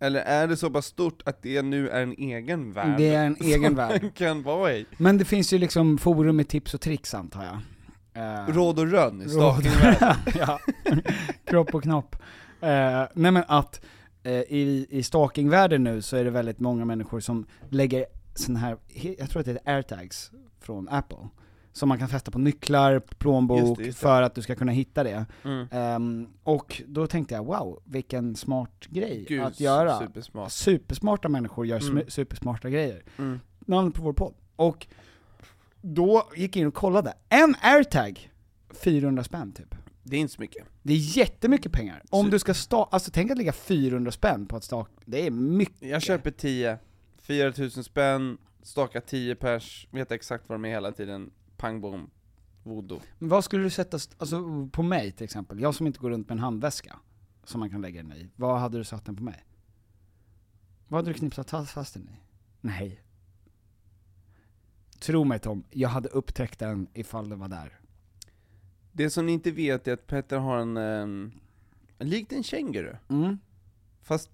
[SPEAKER 3] Eller är det så pass stort att det nu är en egen värld?
[SPEAKER 2] Det är en
[SPEAKER 3] som
[SPEAKER 2] egen värld.
[SPEAKER 3] *laughs* man kan vara i.
[SPEAKER 2] Men det finns ju liksom forum med tips och tricks antar jag. Eh,
[SPEAKER 3] Råd och rön i
[SPEAKER 2] Råd.
[SPEAKER 3] stalkingvärlden.
[SPEAKER 2] *laughs* ja. Kropp och knopp. Eh, nej men att eh, i, i stalkingvärlden nu så är det väldigt många människor som lägger sån här, he- jag tror att det är airtags från Apple. Som man kan fästa på nycklar, plånbok,
[SPEAKER 3] Just det, just det.
[SPEAKER 2] för att du ska kunna hitta det.
[SPEAKER 3] Mm.
[SPEAKER 2] Ehm, och då tänkte jag, wow, vilken smart grej
[SPEAKER 3] Gud,
[SPEAKER 2] att göra.
[SPEAKER 3] supersmart.
[SPEAKER 2] Supersmarta människor gör sm-
[SPEAKER 3] Mm.
[SPEAKER 2] supersmarta grejer.
[SPEAKER 3] Mm.
[SPEAKER 2] namnet på vår podd. Och då gick jag in och kollade. En airtag, 400 spänn typ.
[SPEAKER 3] Det är inte så mycket.
[SPEAKER 2] Det är jättemycket pengar. Om
[SPEAKER 3] Så-
[SPEAKER 2] du ska sta- alltså tänk att lägga 400 spänn på att staka, det är mycket.
[SPEAKER 3] Jag köper 10, 4000 spänn, staka 10 pers, vet exakt vad de är hela tiden, pang bom, voodoo.
[SPEAKER 2] Men vad skulle du sätta, st- alltså på mig till exempel, jag som inte går runt med en handväska som man kan lägga den i, vad hade du satt den på mig? Vad hade du knipsat fast- fast den i? Nej. Tro mig Tom, jag hade upptäckt den ifall den var där.
[SPEAKER 3] Det som ni inte vet är att Petter har en, ehm, en likt en känguru,
[SPEAKER 2] Mm.
[SPEAKER 3] fast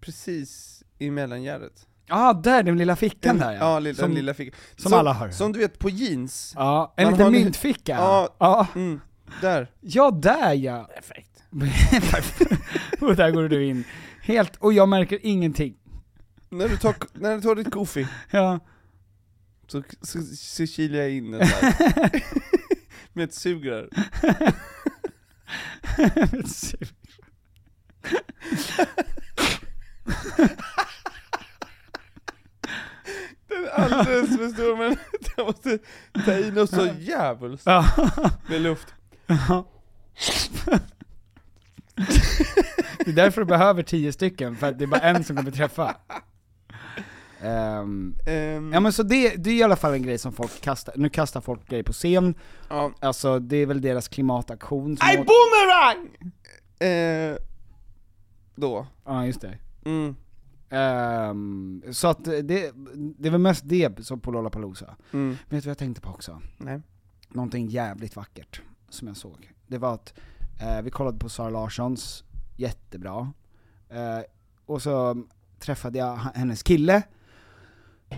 [SPEAKER 3] precis i mellangärdet.
[SPEAKER 2] Ah, där, den lilla fickan
[SPEAKER 3] En-
[SPEAKER 2] där ja.
[SPEAKER 3] ja, lilla,
[SPEAKER 2] som,
[SPEAKER 3] den lilla fickan.
[SPEAKER 2] som alla har.
[SPEAKER 3] Som du vet, på jeans.
[SPEAKER 2] ja, en
[SPEAKER 3] Man
[SPEAKER 2] liten
[SPEAKER 3] har en-
[SPEAKER 2] myntficka.
[SPEAKER 3] Ja.
[SPEAKER 2] ja.
[SPEAKER 3] Mm, där.
[SPEAKER 2] Ja, där ja! *laughs*
[SPEAKER 3] Perfekt.
[SPEAKER 2] och där går du in. Helt, och jag märker ingenting.
[SPEAKER 3] När du tar, när du tar ditt goofy,
[SPEAKER 2] Ja.
[SPEAKER 3] så, så, så kilar jag in den där.
[SPEAKER 2] *laughs*
[SPEAKER 3] Med ett sugrör. Den är alldeles för stor, men *laughs* jag måste ta i något så
[SPEAKER 2] *laughs*
[SPEAKER 3] djävulskt
[SPEAKER 2] Ja.
[SPEAKER 3] med luft.
[SPEAKER 2] Det är därför du behöver tio stycken, för att det är bara en som kommer träffa. Ehm,
[SPEAKER 3] Ehm,
[SPEAKER 2] ja men så det, det är i alla fall en grej som folk kastar, nu kastar folk grejer på scen,
[SPEAKER 3] ja.
[SPEAKER 2] alltså det är väl deras klimataktion som...
[SPEAKER 3] I
[SPEAKER 2] åt-
[SPEAKER 3] boomerang! Eh, då.
[SPEAKER 2] Ja just det.
[SPEAKER 3] Mm.
[SPEAKER 2] Ehm, så att det, det är väl mest det som på Lollapalooza.
[SPEAKER 3] Mm.
[SPEAKER 2] Vet du vad jag tänkte på också?
[SPEAKER 3] Nej.
[SPEAKER 2] någonting jävligt vackert som jag såg. Det var att eh, vi kollade på Sara Larssons, jättebra. Eh, och så träffade jag h- hennes kille.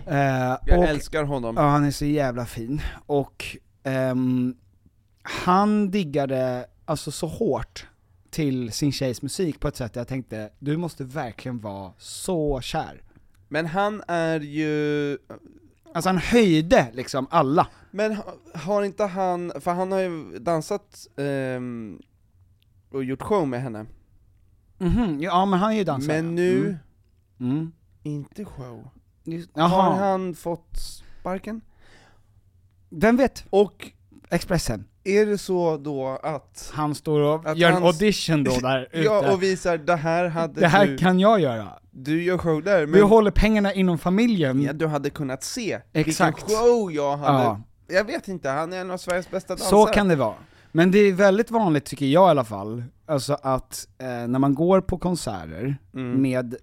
[SPEAKER 2] Eh,
[SPEAKER 3] Jag
[SPEAKER 2] och,
[SPEAKER 3] älskar honom.
[SPEAKER 2] Ja, han är så jävla fin. Och ehm, han diggade alltså så hårt till sin tjejs musik på ett sätt jag tänkte, du måste verkligen vara så kär.
[SPEAKER 3] Men han är ju...
[SPEAKER 2] Alltså han höjde liksom alla.
[SPEAKER 3] Men ha- har inte han, för han har ju dansat ehm, och gjort show med henne.
[SPEAKER 2] Mhm, ja men han är ju dansare.
[SPEAKER 3] Men nu,
[SPEAKER 2] Mm. Mm.
[SPEAKER 3] inte show.
[SPEAKER 2] Just-
[SPEAKER 3] Har
[SPEAKER 2] Jaha.
[SPEAKER 3] han fått sparken?
[SPEAKER 2] Vem vet?
[SPEAKER 3] Och
[SPEAKER 2] Expressen.
[SPEAKER 3] är det så då att...
[SPEAKER 2] Han står och
[SPEAKER 3] Att
[SPEAKER 2] gör
[SPEAKER 3] han-
[SPEAKER 2] en audition då där ute.
[SPEAKER 3] *laughs* Ja, och visar det här hade
[SPEAKER 2] det här
[SPEAKER 3] du,
[SPEAKER 2] kan jag göra.
[SPEAKER 3] du gör show där,
[SPEAKER 2] Vi
[SPEAKER 3] men
[SPEAKER 2] håller pengarna inom familjen.
[SPEAKER 3] ja, du hade kunnat se
[SPEAKER 2] Exakt.
[SPEAKER 3] vilken show jag hade.
[SPEAKER 2] Ja.
[SPEAKER 3] Jag vet inte, han är en av Sveriges bästa dansare.
[SPEAKER 2] Så kan det vara. Men det är väldigt vanligt, tycker jag i alla fall, alltså att eh, när man går på konserter
[SPEAKER 3] Mm.
[SPEAKER 2] med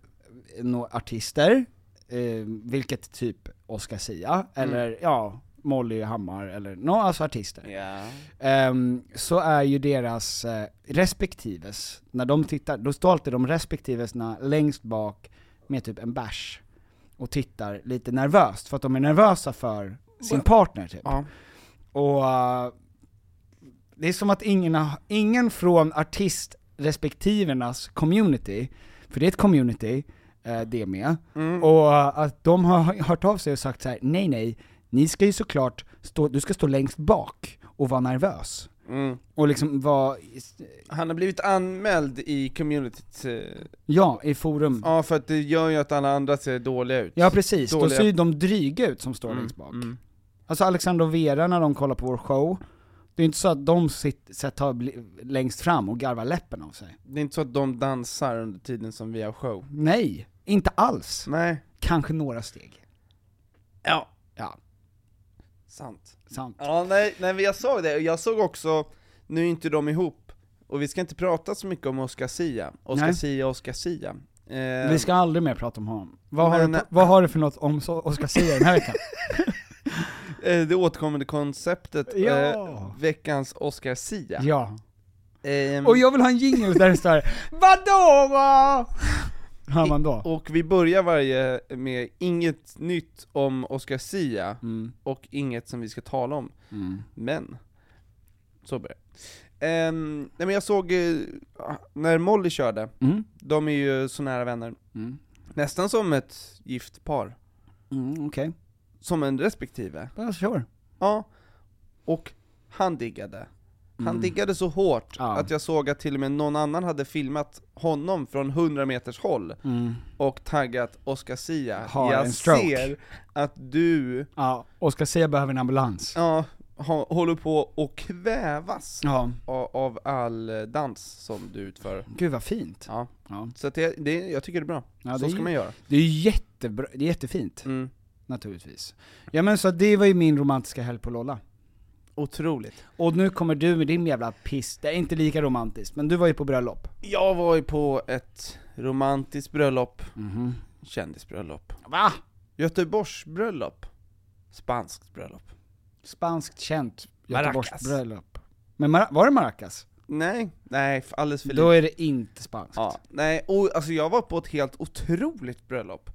[SPEAKER 2] några artister, eh, vilket typ Oscar Sia,
[SPEAKER 3] Mm.
[SPEAKER 2] eller ja, Molly Hammar, eller några alltså artister.
[SPEAKER 3] Ja.
[SPEAKER 2] Ehm, så är ju deras eh, respektives, när de tittar, då står alltid de respektivesna längst bak med typ en bärs och tittar lite nervöst, för att de är nervösa för sin partner typ.
[SPEAKER 3] Ja.
[SPEAKER 2] Och eh, det är som att ingen, har- ingen från artist respektivernas community, för det är ett community, eh, det med,
[SPEAKER 3] Mm.
[SPEAKER 2] och eh, att de har hört av sig och sagt så här: nej nej, ni ska ju såklart stå, du ska stå längst bak och vara nervös.
[SPEAKER 3] Mm.
[SPEAKER 2] Och liksom vara,
[SPEAKER 3] Han har blivit anmäld i communityt, eh,
[SPEAKER 2] ja, i forum.
[SPEAKER 3] ja för att det gör ju att alla andra ser dåliga ut.
[SPEAKER 2] Ja precis, då
[SPEAKER 3] Dåliga.
[SPEAKER 2] ser ju de dryga ut som står längst bak.
[SPEAKER 3] Mm.
[SPEAKER 2] Alltså Alexander och Vera när de kollar på vår show, det är inte så att de sitter, sitter bli- längst fram och garvar läppen av sig.
[SPEAKER 3] Det är inte så att de dansar under tiden som vi har show.
[SPEAKER 2] Nej, inte alls.
[SPEAKER 3] Nej.
[SPEAKER 2] Kanske några steg.
[SPEAKER 3] Ja.
[SPEAKER 2] Ja,
[SPEAKER 3] Sant.
[SPEAKER 2] sant.
[SPEAKER 3] Ja, nej, nej, men jag såg det, och jag såg också, nu är inte de ihop, och vi ska inte prata så mycket om Oscar Sia, Oscar
[SPEAKER 2] Nej.
[SPEAKER 3] Sia, Oscar Sia. Eh,
[SPEAKER 2] Vi ska aldrig mer prata om honom. Vad, har,
[SPEAKER 3] Men-
[SPEAKER 2] du, vad har du för något om så- Oscar Sia den här
[SPEAKER 3] *laughs*
[SPEAKER 2] veckan?
[SPEAKER 3] eh, det återkommande konceptet,
[SPEAKER 2] Ja.
[SPEAKER 3] eh, veckans Oscar Sia.
[SPEAKER 2] ja.
[SPEAKER 3] Ehm,
[SPEAKER 2] Och jag vill ha en jingle där det står Vadå va? Hör man
[SPEAKER 3] *laughs*
[SPEAKER 2] då?
[SPEAKER 3] och vi börjar varje med inget nytt om Oscar Sia,
[SPEAKER 2] Mm.
[SPEAKER 3] och inget som vi ska tala om.
[SPEAKER 2] Mm.
[SPEAKER 3] Men, så börjar det. Ehm, nej men jag såg, eh, när Molly körde,
[SPEAKER 2] Mm.
[SPEAKER 3] de är ju så nära vänner,
[SPEAKER 2] Mm.
[SPEAKER 3] nästan som ett gift par,
[SPEAKER 2] Mm, Okej,
[SPEAKER 3] som en respektive.
[SPEAKER 2] okay. sure.
[SPEAKER 3] Ja, och han diggade. Han
[SPEAKER 2] Mm.
[SPEAKER 3] diggade så hårt
[SPEAKER 2] Ja.
[SPEAKER 3] att jag såg att till och med någon annan hade filmat honom från 100 meters håll
[SPEAKER 2] Mm.
[SPEAKER 3] och taggat Oscar Sia.
[SPEAKER 2] Har
[SPEAKER 3] jag
[SPEAKER 2] en stroke."
[SPEAKER 3] ser att du
[SPEAKER 2] Ja, Oscar Sia behöver en ambulans.
[SPEAKER 3] ja, ha, håller på att kvävas
[SPEAKER 2] Ja.
[SPEAKER 3] av, av all eh, dans som du utför.
[SPEAKER 2] Gud vad fint.
[SPEAKER 3] Ja.
[SPEAKER 2] Ja.
[SPEAKER 3] Så att det, det, jag tycker det är bra.
[SPEAKER 2] Ja,
[SPEAKER 3] så
[SPEAKER 2] det är
[SPEAKER 3] ska
[SPEAKER 2] ju-
[SPEAKER 3] man göra.
[SPEAKER 2] Det är ju jättebra, det är jättefint,
[SPEAKER 3] Mm.
[SPEAKER 2] naturligtvis. Ja men så det var ju min romantiska helg på Lolla.
[SPEAKER 3] Otroligt.
[SPEAKER 2] Och nu kommer du med din jävla piss, det är inte lika romantiskt, men du var ju på bröllop.
[SPEAKER 3] Jag var ju på ett romantiskt bröllop,
[SPEAKER 2] Mhm.
[SPEAKER 3] kändisbröllop,
[SPEAKER 2] Va?
[SPEAKER 3] Göteborgsbröllop, spanskt bröllop.
[SPEAKER 2] Spanskt känt
[SPEAKER 3] Maracas.
[SPEAKER 2] Göteborgsbröllop. Men Mar- var det Maracas?
[SPEAKER 3] Nej, nej, f- alldeles för
[SPEAKER 2] Då
[SPEAKER 3] lite.
[SPEAKER 2] är det inte spanskt.
[SPEAKER 3] Ja, nej, och, alltså jag var på ett helt otroligt bröllop.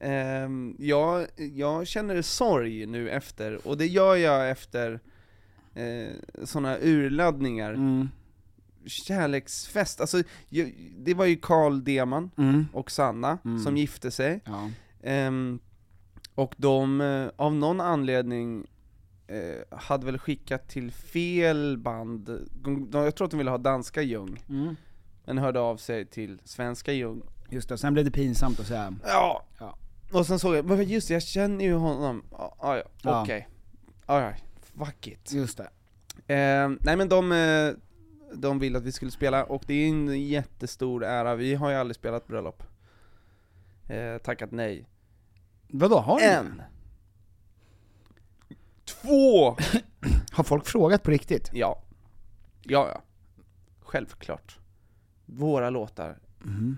[SPEAKER 3] Ehm, jag, jag känner sorg nu efter, och det gör jag efter eh, sådana urladdningar.
[SPEAKER 2] Mm.
[SPEAKER 3] Kärleksfest, alltså jag, det var ju Carl Deman
[SPEAKER 2] Mm.
[SPEAKER 3] och Sanna
[SPEAKER 2] Mm.
[SPEAKER 3] som gifte sig.
[SPEAKER 2] Ja.
[SPEAKER 3] Ehm, och de, eh, av någon anledning, eh, hade väl skickat till fel band, de, de, jag tror att de ville ha danska Ljung,
[SPEAKER 2] Mm.
[SPEAKER 3] men hörde av sig till svenska Ljung.
[SPEAKER 2] Just det, sen blev det pinsamt att säga.
[SPEAKER 3] Ja!
[SPEAKER 2] Ja.
[SPEAKER 3] Och sen såg jag, men just det, jag känner ju honom, ja, ah, ja,
[SPEAKER 2] Ja.
[SPEAKER 3] okej. Ah, ja, fuck it.
[SPEAKER 2] Just det.
[SPEAKER 3] Ehm, nej men de, eh, de ville att vi skulle spela, och det är en jättestor ära, vi har ju aldrig spelat bröllop. Eh, tackat nej.
[SPEAKER 2] Vadå, har ni det?
[SPEAKER 3] En. Två!
[SPEAKER 2] Har folk frågat på riktigt?
[SPEAKER 3] Ja. Ja, ja. Självklart. Våra låtar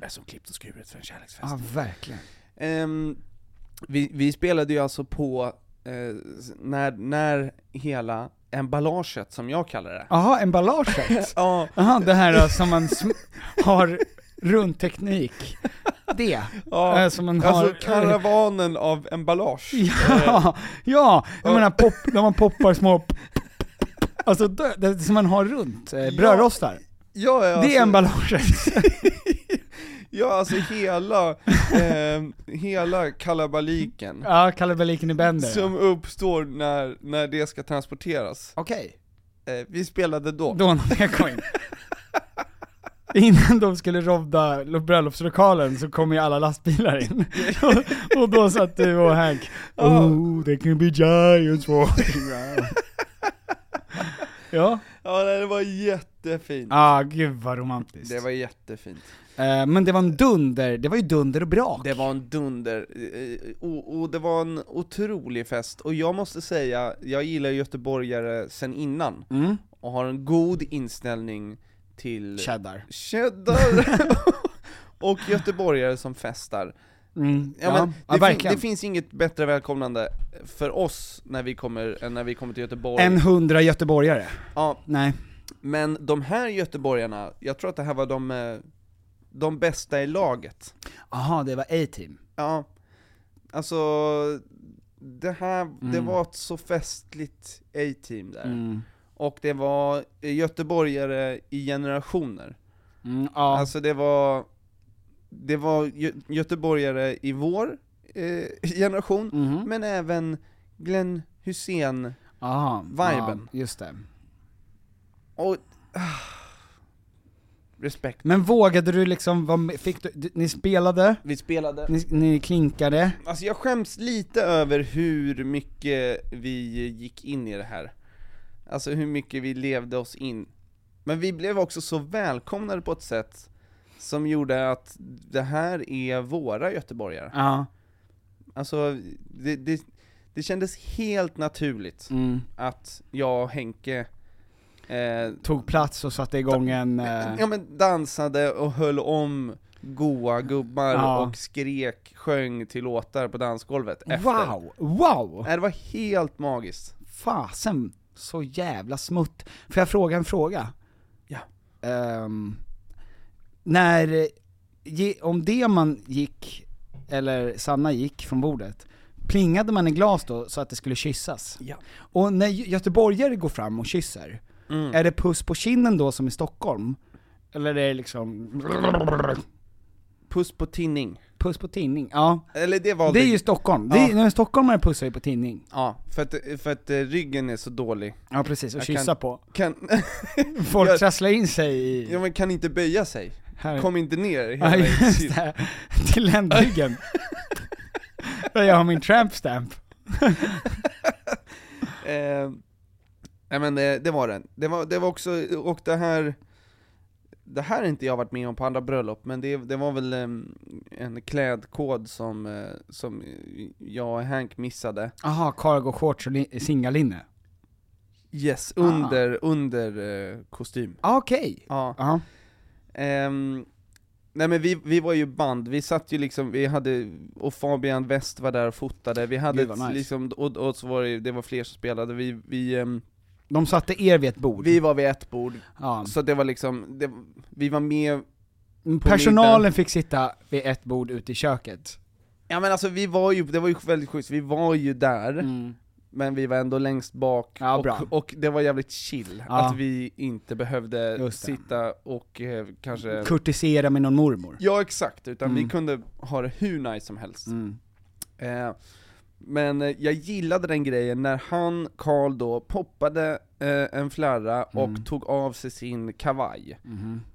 [SPEAKER 3] är som klippt och skuret för en kärleksfest.
[SPEAKER 2] Mm-hmm. Ja, verkligen.
[SPEAKER 3] Ehm, vi, vi spelade ju alltså på, eh, s- när, när hela emballaget, som jag kallar det.
[SPEAKER 2] Jaha, emballaget?
[SPEAKER 3] *laughs* Ja,
[SPEAKER 2] Jaha, det här eh, som man sm- har runt teknik. Det.
[SPEAKER 3] ja.
[SPEAKER 2] eh, Som man har...
[SPEAKER 3] Alltså karavanen av emballage.
[SPEAKER 2] Ja, ja! Jag
[SPEAKER 3] Ja.
[SPEAKER 2] menar pop, när man poppar små... Alltså det, det som man har runt, eh, brödrostar.
[SPEAKER 3] Ja, ja,
[SPEAKER 2] Det är
[SPEAKER 3] alltså-
[SPEAKER 2] emballaget.
[SPEAKER 3] Ja, alltså hela,
[SPEAKER 2] *laughs*
[SPEAKER 3] ehm, hela kalabaliken.
[SPEAKER 2] Ja, kalabaliken i bänder.
[SPEAKER 3] Som uppstår när, när det ska transporteras.
[SPEAKER 2] Okej.
[SPEAKER 3] Eh, vi spelade då.
[SPEAKER 2] Då när jag kom in. Innan de skulle rovda lo- bröllopslokalen så kom ju alla lastbilar in. Och, och då satt du och Hank, oh they can be giants walking around. Ja,
[SPEAKER 3] Ja, nej, det var jättefint.
[SPEAKER 2] ah, gud vad romantiskt.
[SPEAKER 3] Det var jättefint.
[SPEAKER 2] Eh, men det var en dunder, det var ju dunder och brak.
[SPEAKER 3] Det var en dunder, eh, och, och det var en otrolig fest, och jag måste säga, jag gillar göteborgare sen innan,
[SPEAKER 2] Mm.
[SPEAKER 3] och har en god inställning till
[SPEAKER 2] Cheddar.
[SPEAKER 3] cheddar
[SPEAKER 2] *laughs*
[SPEAKER 3] *laughs* och göteborgare som festar.
[SPEAKER 2] Mm.
[SPEAKER 3] Ja, men
[SPEAKER 2] ja,
[SPEAKER 3] det, fin-
[SPEAKER 2] verkligen.
[SPEAKER 3] det finns inget bättre välkomnande för oss när vi kommer, än när vi kommer till Göteborg.
[SPEAKER 2] en hundra göteborgare.
[SPEAKER 3] Ja,
[SPEAKER 2] Nej.
[SPEAKER 3] men de här göteborgarna, jag tror att det här var de, eh, de bästa i laget.
[SPEAKER 2] Aha, det var A-team.
[SPEAKER 3] Ja, alltså det här, det
[SPEAKER 2] Mm.
[SPEAKER 3] var ett så festligt A-team där.
[SPEAKER 2] Mm.
[SPEAKER 3] Och det var göteborgare i generationer.
[SPEAKER 2] Mm, ja.
[SPEAKER 3] Alltså det var, det var gö- göteborgare i vår eh, *laughs* generation,
[SPEAKER 2] Mhm.
[SPEAKER 3] men även Glenn Hussein
[SPEAKER 2] Aha,
[SPEAKER 3] viben.
[SPEAKER 2] Ja, just det.
[SPEAKER 3] och... Ah, respekt.
[SPEAKER 2] Men vågade du liksom, vara med- fick du, du- ni spelade,
[SPEAKER 3] Vi spelade
[SPEAKER 2] ni, ni klinkade,
[SPEAKER 3] Alltså jag skäms lite över hur mycket vi gick in i det här. Alltså hur mycket vi levde oss in. Men vi blev också så välkomnade på ett sätt som gjorde att det här är våra göteborgare.
[SPEAKER 2] ja.
[SPEAKER 3] Alltså, det, det, det kändes helt naturligt
[SPEAKER 2] Mm.
[SPEAKER 3] att jag och Henke eh,
[SPEAKER 2] tog plats och satte igång en... eh,
[SPEAKER 3] ja, men dansade och höll om goa gubbar
[SPEAKER 2] Ja.
[SPEAKER 3] och skrek, sjöng till låtar på dansgolvet efter.
[SPEAKER 2] wow, wow!
[SPEAKER 3] Nej, Äh, det var helt magiskt.
[SPEAKER 2] Fasen, så jävla smutt. Får jag fråga en fråga?
[SPEAKER 3] Ja.
[SPEAKER 2] Ehm, när, eh, ge, om det man gick, eller Sanna gick från bordet, plingade man i glas då så att det skulle kyssas?
[SPEAKER 3] Ja.
[SPEAKER 2] Och när gö- göteborgare går fram och kysser, är det puss på kinnen då som i Stockholm? Eller är det liksom
[SPEAKER 3] Puss på tinning.
[SPEAKER 2] Puss på tinning, ja.
[SPEAKER 3] Eller det var
[SPEAKER 2] Det är ju Stockholm, det är,
[SPEAKER 3] Ja.
[SPEAKER 2] när en stockholmare pussar ju på tinning.
[SPEAKER 3] Ja, för att, för att eh, ryggen är så dålig.
[SPEAKER 2] Ja precis, och
[SPEAKER 3] Jag
[SPEAKER 2] kyssa
[SPEAKER 3] kan-
[SPEAKER 2] på.
[SPEAKER 3] Kan, *laughs*
[SPEAKER 2] Folk
[SPEAKER 3] Jag-
[SPEAKER 2] trasslar in sig i...
[SPEAKER 3] ja, men kan inte böja sig.
[SPEAKER 2] här.
[SPEAKER 3] Kom inte ner hela
[SPEAKER 2] *laughs* ja,
[SPEAKER 3] vägen
[SPEAKER 2] just
[SPEAKER 3] till-
[SPEAKER 2] det. Till *laughs* ländryggen. Där jag har min tramp stamp.
[SPEAKER 3] Eh, nej men eh, det, det var den. Det var, det var också, och det här, det här har inte jag varit med om på andra bröllop, men det, det var väl eh, en klädkod som, eh, som jag och Hank missade.
[SPEAKER 2] Aha, cargo shorts och li- singalinne.
[SPEAKER 3] Yes,
[SPEAKER 2] Ah.
[SPEAKER 3] under, under eh, kostym.
[SPEAKER 2] Ah, Okej.
[SPEAKER 3] Ja.
[SPEAKER 2] Ja.
[SPEAKER 3] Ehm, nej men vi, vi var ju band, vi satt ju liksom, vi hade, och Fabian West var där och fotade, vi hade
[SPEAKER 2] Gud, vad
[SPEAKER 3] ett-
[SPEAKER 2] nice.
[SPEAKER 3] liksom, och, och så var det, det var fler som spelade, vi, vi, ehm,
[SPEAKER 2] De satte er vid ett bord.
[SPEAKER 3] vi var vid ett bord,
[SPEAKER 2] ja.
[SPEAKER 3] så det var liksom, det, vi var med,
[SPEAKER 2] Personalen
[SPEAKER 3] middagen.
[SPEAKER 2] fick sitta vid ett bord ute i köket.
[SPEAKER 3] ja men alltså vi var ju, det var ju väldigt schysst, vi var ju där, men vi var ändå längst bak,
[SPEAKER 2] Mm. Ja, bra.
[SPEAKER 3] och, och det var jävligt chill,
[SPEAKER 2] Ja.
[SPEAKER 3] att vi inte behövde
[SPEAKER 2] Just det.
[SPEAKER 3] sitta och eh, kanske
[SPEAKER 2] Kurtisera med någon mormor.
[SPEAKER 3] Ja exakt, utan
[SPEAKER 2] Mm.
[SPEAKER 3] vi kunde ha det hur nice som helst.
[SPEAKER 2] Mm.
[SPEAKER 3] Eh, men eh, jag gillade den grejen när han, Karl då, poppade eh, en flarra
[SPEAKER 2] Mm.
[SPEAKER 3] och tog av sig sin kavaj.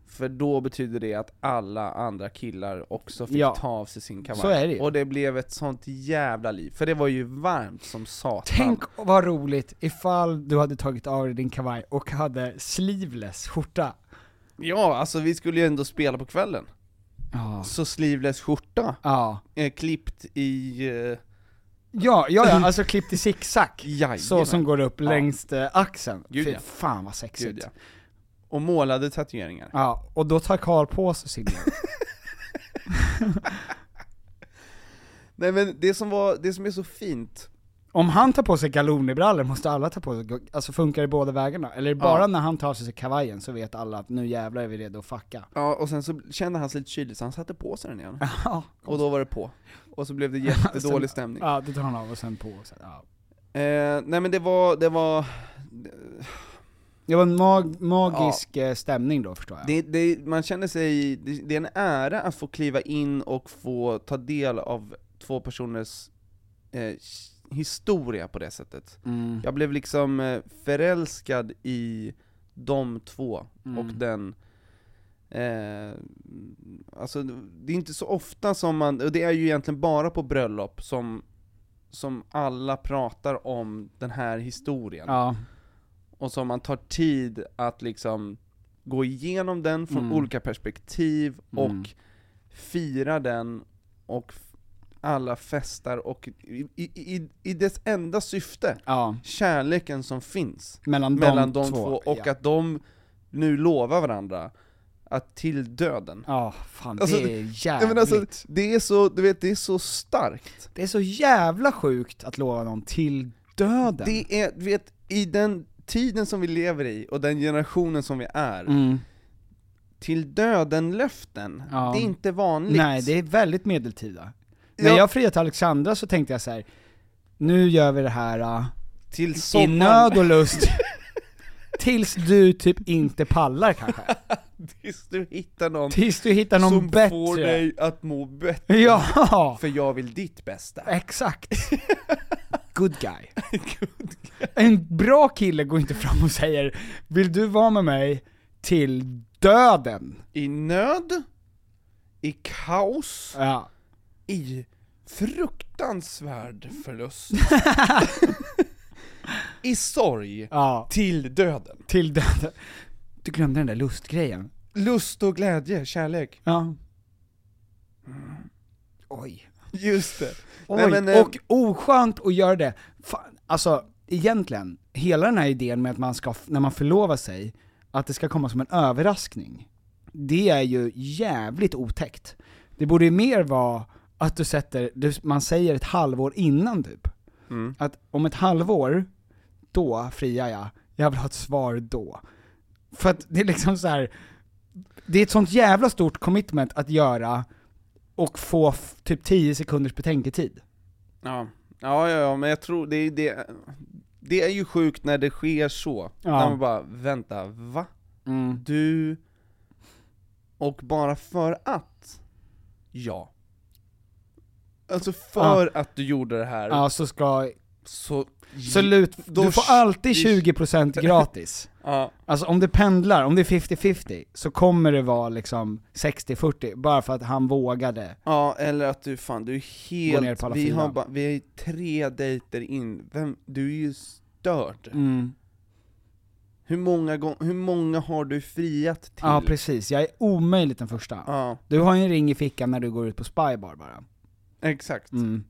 [SPEAKER 3] För då betyder det att alla andra killar också fick
[SPEAKER 2] Ja.
[SPEAKER 3] ta av sig sin kavaj.
[SPEAKER 2] Så är det ju.
[SPEAKER 3] Och det blev ett sånt jävla liv, för det var ju varmt som satan.
[SPEAKER 2] Tänk vad roligt ifall du hade tagit av dig din kavaj och hade sleeveless skjorta.
[SPEAKER 3] Ja, alltså vi skulle ju ändå spela på kvällen.
[SPEAKER 2] Ja.
[SPEAKER 3] Så sleeveless skjorta,
[SPEAKER 2] Ja,
[SPEAKER 3] eh, klippt i... Eh,
[SPEAKER 2] ja, ja, alltså klippt i zigzag.
[SPEAKER 3] *laughs* jajamän.
[SPEAKER 2] Så som går upp
[SPEAKER 3] Ja.
[SPEAKER 2] längs eh, axeln.
[SPEAKER 3] Gud,
[SPEAKER 2] Fy
[SPEAKER 3] ja.
[SPEAKER 2] fan vad sexigt.
[SPEAKER 3] Gud, ja. Och målade tatueringar.
[SPEAKER 2] Ja, och då tar Karl på sig
[SPEAKER 3] *laughs*
[SPEAKER 2] sin
[SPEAKER 3] Nej men det som, var, det som är så fint,
[SPEAKER 2] Om han tar på sig galonebrallor måste alla ta på sig, gal- alltså funkar det båda vägarna? Eller är det bara
[SPEAKER 3] Ja.
[SPEAKER 2] när han tar sig kavajen så vet alla att nu jävlar är vi redo att fucka?
[SPEAKER 3] ja, och sen så kände han sig lite kylig så han satte på sig den igen.
[SPEAKER 2] Ja,
[SPEAKER 3] Och då var det på. Och så blev
[SPEAKER 2] *laughs*
[SPEAKER 3] det jättedålig stämning.
[SPEAKER 2] ja då tar han av och sen på och så, här, ja.
[SPEAKER 3] Eh, nej men det var, det var,
[SPEAKER 2] Det var en mag- magisk eh, stämning då förstår jag.
[SPEAKER 3] det, det, man känner sig, det, det är en ära att få kliva in och få ta del av två personers eh, historia på det sättet.
[SPEAKER 2] mm.
[SPEAKER 3] Jag blev liksom eh, förälskad i de två
[SPEAKER 2] Mm.
[SPEAKER 3] och den Eh, alltså det är inte så ofta som man, och det är ju egentligen bara på bröllop som, som alla pratar om den här historien.
[SPEAKER 2] Ja,
[SPEAKER 3] Och som man tar tid att liksom gå igenom den från
[SPEAKER 2] Mm.
[SPEAKER 3] olika perspektiv och
[SPEAKER 2] Mm.
[SPEAKER 3] fira den och f- alla festar och i, i, i, i dess enda syfte,
[SPEAKER 2] ja.
[SPEAKER 3] kärleken som finns
[SPEAKER 2] Mellan,
[SPEAKER 3] mellan
[SPEAKER 2] de,
[SPEAKER 3] de två, och
[SPEAKER 2] ja.
[SPEAKER 3] att de nu lovar varandra att till döden.
[SPEAKER 2] Ja, fan
[SPEAKER 3] Alltså,
[SPEAKER 2] det är
[SPEAKER 3] Ja,
[SPEAKER 2] jävligt.
[SPEAKER 3] men alltså, det är så, du vet, det är så starkt.
[SPEAKER 2] Det är så jävla sjukt att lova någon till döden.
[SPEAKER 3] Det är, du vet, i den tiden som vi lever i och den generationen som vi är,
[SPEAKER 2] Mm.
[SPEAKER 3] till döden-löften,
[SPEAKER 2] Ja.
[SPEAKER 3] det är inte vanligt.
[SPEAKER 2] Nej, det är väldigt medeltida. När
[SPEAKER 3] Ja.
[SPEAKER 2] jag friade till Alexandra så tänkte jag så här. nu gör vi det här ah,
[SPEAKER 3] till
[SPEAKER 2] i
[SPEAKER 3] sommaren.
[SPEAKER 2] nöd och
[SPEAKER 3] *laughs*
[SPEAKER 2] lust, tills du typ inte pallar kanske.
[SPEAKER 3] *laughs* Tills du hittar någon,
[SPEAKER 2] Tills du hittar någon
[SPEAKER 3] som
[SPEAKER 2] bättre.
[SPEAKER 3] får dig att må
[SPEAKER 2] *laughs*
[SPEAKER 3] bättre.
[SPEAKER 2] Ja,
[SPEAKER 3] För jag vill ditt bästa.
[SPEAKER 2] exakt. *laughs* Good guy. En bra kille går inte fram och säger, vill du vara med mig till döden?
[SPEAKER 3] I nöd, i kaos,
[SPEAKER 2] Ja.
[SPEAKER 3] i fruktansvärd *laughs* förlust. I sorg.
[SPEAKER 2] ja.
[SPEAKER 3] Till döden.
[SPEAKER 2] Till döden. Du glömde den där lustgrejen.
[SPEAKER 3] Lust och glädje, kärlek.
[SPEAKER 2] Ja. Mm. Oj.
[SPEAKER 3] Just det.
[SPEAKER 2] Oj.
[SPEAKER 3] Nej, men, eh,
[SPEAKER 2] och oskönt att göra det. Fan, alltså, egentligen, hela den här idén med att man ska, när man förlovar sig, att det ska komma som en överraskning. Det är ju jävligt otäckt. Det borde ju mer vara att du sätter, du, man säger ett halvår innan typ.
[SPEAKER 3] Mm.
[SPEAKER 2] Att om ett halvår, då friar jag. Jag vill ha ett svar då. För att det är liksom så här. det är ett sånt jävla stort commitment att göra och få f- typ 10 sekunders betänketid.
[SPEAKER 3] Ja. Ja, ja, ja, men jag tror det, det, det är ju sjukt när det sker så. När man bara, vänta, va? Mm. Du... Och bara för att, ja. Alltså för att du gjorde det här,
[SPEAKER 2] Ja, så ska...
[SPEAKER 3] så...
[SPEAKER 2] Absolut,
[SPEAKER 3] Då
[SPEAKER 2] du får
[SPEAKER 3] sh-
[SPEAKER 2] alltid
[SPEAKER 3] sh-
[SPEAKER 2] 20% gratis.
[SPEAKER 3] Ja,
[SPEAKER 2] Alltså om det pendlar, om det är 50-50, så kommer det vara liksom 60-40, bara för att han vågade.
[SPEAKER 3] ja, eller att du fan, du är
[SPEAKER 2] Gå ner
[SPEAKER 3] helt...
[SPEAKER 2] på alla
[SPEAKER 3] vi,
[SPEAKER 2] fyra.
[SPEAKER 3] har bara, vi är tre dejter in, Vem, du är ju störd. Hur, många gång, hur många har du friat till?
[SPEAKER 2] Ja precis, jag är omöjligt den första.
[SPEAKER 3] Ja,
[SPEAKER 2] Du har ju en ring i fickan när du går ut på spybar bara.
[SPEAKER 3] exakt.
[SPEAKER 2] Mm.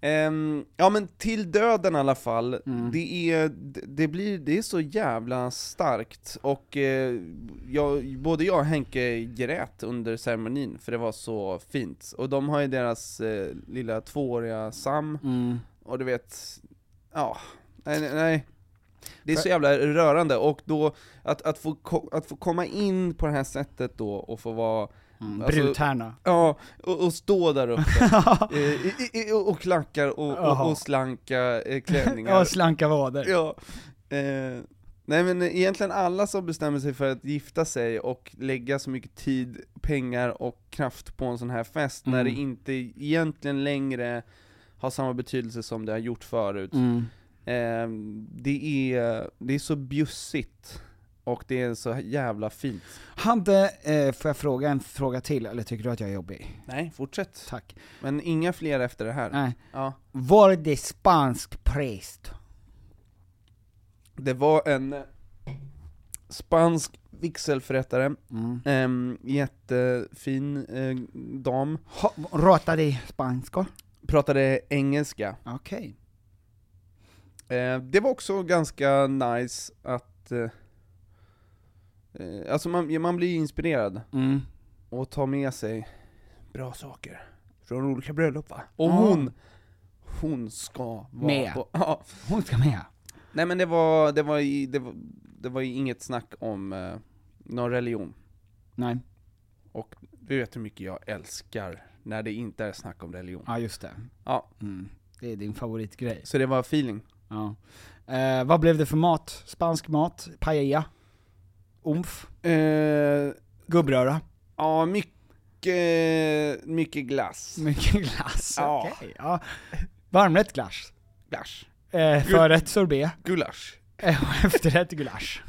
[SPEAKER 3] Ehm, ja men till döden i alla fall,
[SPEAKER 2] Mm.
[SPEAKER 3] det, är, det- det, blir, det är så jävla starkt, och eh, jag, både jag och Henke grät under ceremonin, för det var så fint. Och de har ju deras eh, lilla tvååriga Sam, och du vet, ja, nej, nej, nej. Det är så jävla rörande, och då, att, att, få, ko- att få komma in på det här sättet då, och få vara,
[SPEAKER 2] Mm.
[SPEAKER 3] Alltså- *laughs*
[SPEAKER 2] Brudtärna.
[SPEAKER 3] ja, och, och stå där uppe
[SPEAKER 2] *laughs*
[SPEAKER 3] Eh, i, i, i- och klackar och,
[SPEAKER 2] Jaha.
[SPEAKER 3] och, och slanka
[SPEAKER 2] *laughs*
[SPEAKER 3] eh, klänningar.
[SPEAKER 2] Ja, slanka vader.
[SPEAKER 3] ja. Eh, nej men egentligen alla som bestämmer sig för att gifta sig och lägga så mycket tid, pengar och kraft på en sån här fest, när det
[SPEAKER 2] Mm.
[SPEAKER 3] inte egentligen längre har samma betydelse som det har gjort förut.
[SPEAKER 2] Mm.
[SPEAKER 3] Eh, det, är, det är så bjussigt, och det är så jävla fint.
[SPEAKER 2] Hade, eh, får jag fråga en fråga till, eller tycker du att jag är jobbig?
[SPEAKER 3] Nej, fortsätt.
[SPEAKER 2] Tack.
[SPEAKER 3] Men inga fler efter det här.
[SPEAKER 2] Nej.
[SPEAKER 3] Ja.
[SPEAKER 2] Var det spansk präst?
[SPEAKER 3] Det var en spansk vigselförrättare,
[SPEAKER 2] Mm.
[SPEAKER 3] em, jättefin eh, dam,
[SPEAKER 2] Ha, ratade i spanska?
[SPEAKER 3] pratade engelska.
[SPEAKER 2] Okej.
[SPEAKER 3] Eh, det var också ganska nice att, eh, eh, alltså man, man blir inspirerad
[SPEAKER 2] Mm.
[SPEAKER 3] och tar med sig bra saker från olika bröllop va? Och
[SPEAKER 2] Ja.
[SPEAKER 3] hon, hon ska vara
[SPEAKER 2] Med.
[SPEAKER 3] på... Ja.
[SPEAKER 2] Hon ska med.
[SPEAKER 3] Nej men det var, det var, i- det var, det var ju inget snack om eh, någon religion.
[SPEAKER 2] Nej,
[SPEAKER 3] Och du vet hur mycket jag älskar när det inte är snack om religion.
[SPEAKER 2] ja just det.
[SPEAKER 3] Ja,
[SPEAKER 2] Mm. Det är din favoritgrej.
[SPEAKER 3] så det var feeling.
[SPEAKER 2] Ja. Eh, vad blev det för mat? Spansk mat? Paella? Omf? Gubbröra?
[SPEAKER 3] Eh, ja, mycket, mycket glass.
[SPEAKER 2] Mycket glass?
[SPEAKER 3] Ja.
[SPEAKER 2] Okej, ja. Varmrätt glass?
[SPEAKER 3] Glass.
[SPEAKER 2] Eh, förrätt sorbet?
[SPEAKER 3] Gulasch.
[SPEAKER 2] Eh, och efterrätt *laughs* gulasch?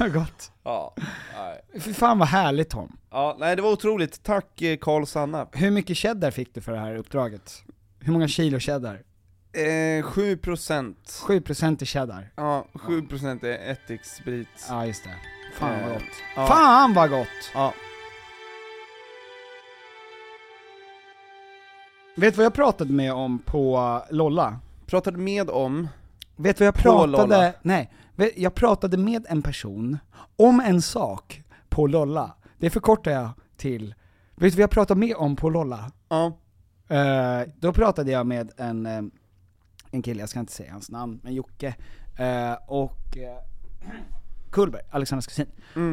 [SPEAKER 2] vad gott.
[SPEAKER 3] Ja, nej.
[SPEAKER 2] Fy fan vad härligt Tom.
[SPEAKER 3] ja, nej det var otroligt. Tack eh, Carl Sanna.
[SPEAKER 2] Hur mycket cheddar fick du för det här uppdraget? Hur många kilo cheddar?
[SPEAKER 3] Eh, 7%
[SPEAKER 2] 7% i cheddar.
[SPEAKER 3] Ja, 7% är ättiksprit.
[SPEAKER 2] Ja just det. Fan vad gott.
[SPEAKER 3] Eh, Ja.
[SPEAKER 2] Fan vad gott!
[SPEAKER 3] Ja.
[SPEAKER 2] Vet du vad jag pratade med om på eh, Lolla?
[SPEAKER 3] Pratade med om,
[SPEAKER 2] Vet du vad jag
[SPEAKER 3] På
[SPEAKER 2] pratade,
[SPEAKER 3] Lolla.
[SPEAKER 2] nej, Vet- jag pratade med en person om en sak på Lolla. Det förkortar jag till, vet du vad jag pratade med om på Lolla?
[SPEAKER 3] ja,
[SPEAKER 2] Eh, då pratade jag med en, eh, en kille, jag ska inte säga hans namn, men Jocke, eh, och eh, Kullberg, Alexanders kusin.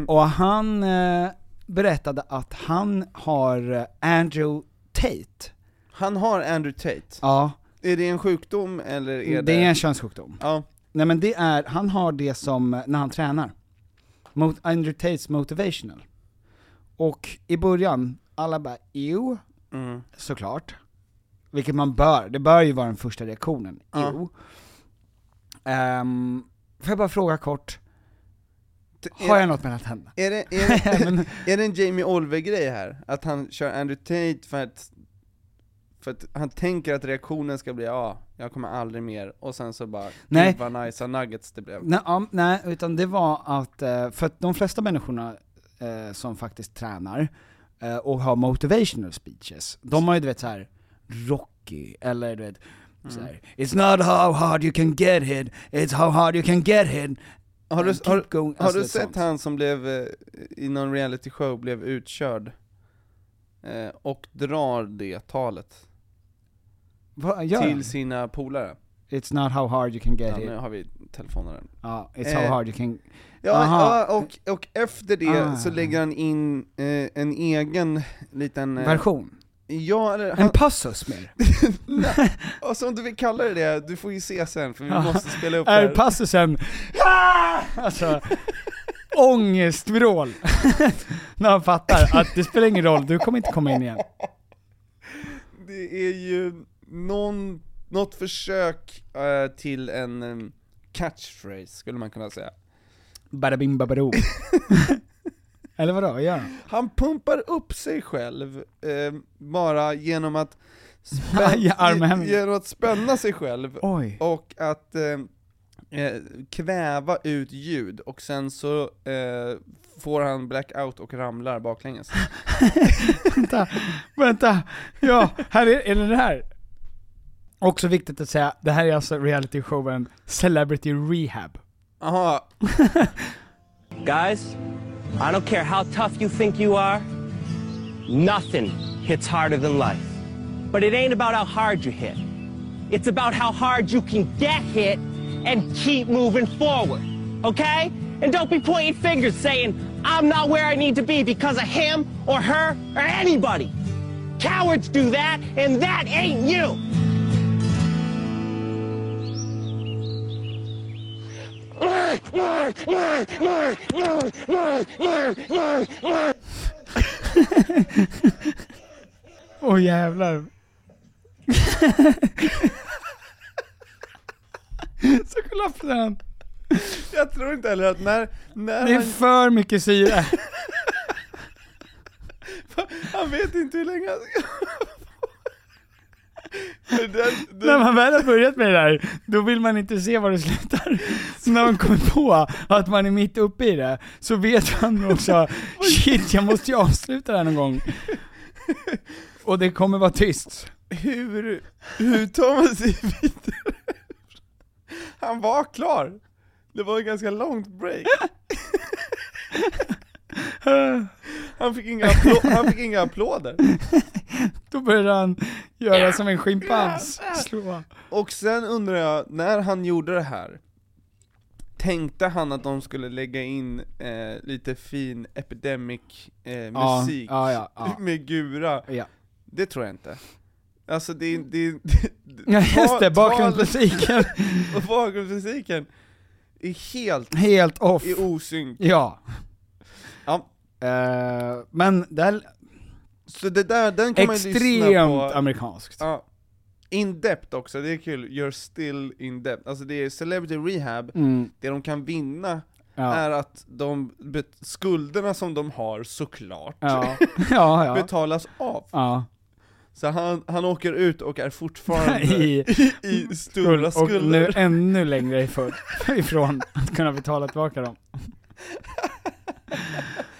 [SPEAKER 2] Och han eh, berättade att han har eh, Andrew Tate.
[SPEAKER 3] han har Andrew Tate.
[SPEAKER 2] Ja,
[SPEAKER 3] Är det en sjukdom eller är det...
[SPEAKER 2] det... är en könssjukdom.
[SPEAKER 3] Ja,
[SPEAKER 2] Nej men det är, han har det som eh, när han tränar. Mot Andrew Tates motivational. Och i början, alla bara jo,
[SPEAKER 3] mm.
[SPEAKER 2] såklart. Vilket man bör, det bör ju vara den första reaktionen,
[SPEAKER 3] Ja.
[SPEAKER 2] jo. Ehm, får jag bara fråga kort,
[SPEAKER 3] T-
[SPEAKER 2] har jag något mellan tänderna?
[SPEAKER 3] Är det, är, det,
[SPEAKER 2] *laughs* Ja, men-
[SPEAKER 3] är det en Jamie Oliver-grej här? Att han kör Andrew Tate för att, för att han tänker att reaktionen ska bli ja, ah, jag kommer aldrig mer, och sen så bara,
[SPEAKER 2] Nej.
[SPEAKER 3] Nej. vad nice nuggets det blev.
[SPEAKER 2] Nej, ja, nej, utan det var att, eh, för att de flesta människorna eh, som faktiskt tränar eh, och har motivational speeches, de har ju du vet såhär Rocky, eller du vet
[SPEAKER 3] Mm.
[SPEAKER 2] så här, It's not how hard you can get hit, it's how hard you can get hit
[SPEAKER 3] Har du,
[SPEAKER 2] Keep
[SPEAKER 3] har,
[SPEAKER 2] going,
[SPEAKER 3] har
[SPEAKER 2] alltså
[SPEAKER 3] du
[SPEAKER 2] ett
[SPEAKER 3] sett
[SPEAKER 2] sånt.
[SPEAKER 3] han som blev, eh, i någon reality show, blev utkörd? Eh, och drar det talet
[SPEAKER 2] Vad gör han?
[SPEAKER 3] till sina polare.
[SPEAKER 2] It's not how hard you can get
[SPEAKER 3] Ja,
[SPEAKER 2] hit,
[SPEAKER 3] nu har vi telefonen.
[SPEAKER 2] ja, it's how
[SPEAKER 3] Eh,
[SPEAKER 2] hard you can...
[SPEAKER 3] Ja,
[SPEAKER 2] Aha.
[SPEAKER 3] ja och, och efter det
[SPEAKER 2] Ah.
[SPEAKER 3] så lägger han in eh, en egen liten...
[SPEAKER 2] *laughs*
[SPEAKER 3] Eh,
[SPEAKER 2] version.
[SPEAKER 3] ja, eller, han,
[SPEAKER 2] En
[SPEAKER 3] *laughs*
[SPEAKER 2] passus *laughs* mer.
[SPEAKER 3] Alltså om du vill kalla det det, du får ju se sen för vi
[SPEAKER 2] Ja.
[SPEAKER 3] måste spela upp det
[SPEAKER 2] Ah. Är *laughs*
[SPEAKER 3] här.
[SPEAKER 2] passusen... Ah! Alltså, ångestvrål. när han fattar att det spelar ingen roll, du kommer inte komma in igen.
[SPEAKER 3] Det är ju någon, något försök eh, till en eh, catchphrase, skulle man kunna säga.
[SPEAKER 2] Bada bing *laughs* babadoo. Eller vadå, ja.
[SPEAKER 3] Han pumpar upp sig själv, eh, bara genom att,
[SPEAKER 2] I armhävningar.
[SPEAKER 3] ge- genom att spänna sig själv
[SPEAKER 2] Oj.
[SPEAKER 3] och att eh, eh, kväva ut ljud, och sen så eh, får han blackout och ramlar baklänges. *laughs*
[SPEAKER 2] Vänta, vänta. Ja, här är, är det det här. Också viktigt att säga, det här är alltså realityshowen Celebrity Rehab.
[SPEAKER 3] Aha,
[SPEAKER 4] Guys, I don't care how tough you think you are, nothing hits harder than life. But it ain't about how hard you hit, it's about how hard you can get hit and keep moving forward, okay? And don't be pointing fingers saying, I'm not where I need to be because of him or her or anybody. Cowards do that, and that ain't you.
[SPEAKER 2] Åh oh, jävlar. Så kollapsar han.
[SPEAKER 3] jag tror inte heller att när, när
[SPEAKER 2] Det är
[SPEAKER 3] han,
[SPEAKER 2] för mycket syre.
[SPEAKER 3] han vet inte hur länge han ska... Men den, den,
[SPEAKER 2] När man väl har börjat med det där, då vill man inte se var det slutar. Så när man kommer på att man är mitt uppe i det, så vet man också shit, jag måste ju avsluta det här någon gång. Och det kommer vara tyst.
[SPEAKER 3] hur, hur tar man sig vidare? Han var klar. Det var ett ganska långt break. Han fick inga, applå- han fick inga applåder.
[SPEAKER 2] Då börjar han göra som en schimpans. Slå.
[SPEAKER 3] Och sen undrar jag, när han gjorde det här, tänkte han att de skulle lägga in eh, lite fin epidemic eh,
[SPEAKER 2] Ja,
[SPEAKER 3] musik
[SPEAKER 2] ja, ja, ja.
[SPEAKER 3] med Gura?
[SPEAKER 2] Ja.
[SPEAKER 3] Det tror jag inte. Alltså det är... Det, det,
[SPEAKER 2] Ja just det,
[SPEAKER 3] tal-
[SPEAKER 2] bakgrundsmusiken.
[SPEAKER 3] tal- och bakgrundsmusiken är helt
[SPEAKER 2] Helt off.
[SPEAKER 3] i osynk.
[SPEAKER 2] Ja.
[SPEAKER 3] Ja.
[SPEAKER 2] Eh, men det är
[SPEAKER 3] Så det där, den kan man ju lyssna på.
[SPEAKER 2] extremt amerikanskt.
[SPEAKER 3] Ja. In depth också, det är kul. You're still in depth. Alltså det är celebrity rehab,
[SPEAKER 2] Mm,
[SPEAKER 3] det de kan vinna
[SPEAKER 2] ja.
[SPEAKER 3] är att de bet- skulderna som de har såklart *laughs*
[SPEAKER 2] Ja. ja, ja.
[SPEAKER 3] betalas av.
[SPEAKER 2] ja.
[SPEAKER 3] Så han, han åker ut och är fortfarande i,
[SPEAKER 2] *laughs* I-
[SPEAKER 3] i stora
[SPEAKER 2] Och nu
[SPEAKER 3] skulder.
[SPEAKER 2] ännu längre ifrån, *laughs* ifrån att kunna betala tillbaka
[SPEAKER 3] *laughs*
[SPEAKER 2] dem.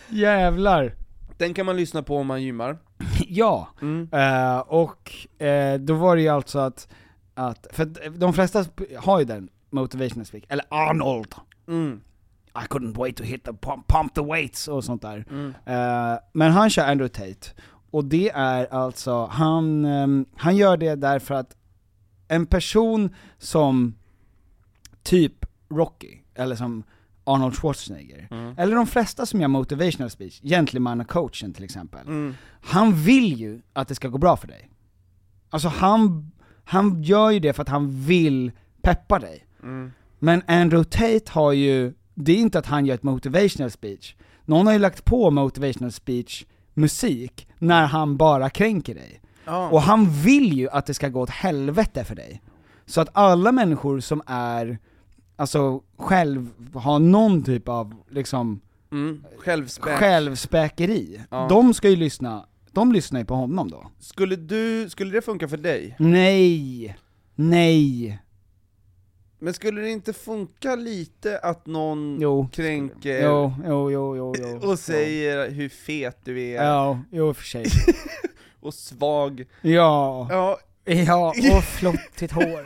[SPEAKER 2] Jävlar.
[SPEAKER 3] Den kan man lyssna på om man gymmar.
[SPEAKER 2] Ja.
[SPEAKER 3] Mm.
[SPEAKER 2] Eh, och eh, då var det ju alltså att, att, för att de flesta sp- har ju den, motivational speak, eller Arnold.
[SPEAKER 3] Mm.
[SPEAKER 2] I couldn't wait to hit the pump, pump the weights och sånt där. Eh, men han kör Andrew Tate, och det är alltså, han, ehm, han gör det därför att en person som typ Rocky, eller som Arnold Schwarzenegger, eller de flesta som gör motivational speech, gentleman och coachen till exempel, han vill ju att det ska gå bra för dig. Alltså han, han gör ju det för att han vill peppa dig. Men Andrew Tate har ju, det är inte att han gör ett motivational speech. Någon har ju lagt på motivational speech musik när han bara kränker dig. Och han vill ju att det ska gå åt helvete för dig. Så att alla människor som är, alltså själv, har någon typ av liksom
[SPEAKER 3] Mm. Självspäk.
[SPEAKER 2] självspäkeri,
[SPEAKER 3] Ja.
[SPEAKER 2] de ska ju lyssna, de lyssnar ju på honom då.
[SPEAKER 3] Skulle, du, skulle det funka för dig?
[SPEAKER 2] Nej! Nej!
[SPEAKER 3] Men skulle det inte funka lite att någon
[SPEAKER 2] Jo.
[SPEAKER 3] kränker
[SPEAKER 2] Jo, jo, jo, jo, jo.
[SPEAKER 3] Eh. och säger hur fet du är
[SPEAKER 2] Ja, jo i och för sig.
[SPEAKER 3] och svag? *laughs*
[SPEAKER 2] Ja,
[SPEAKER 3] Ja,
[SPEAKER 2] *laughs* ja, och flottigt hår.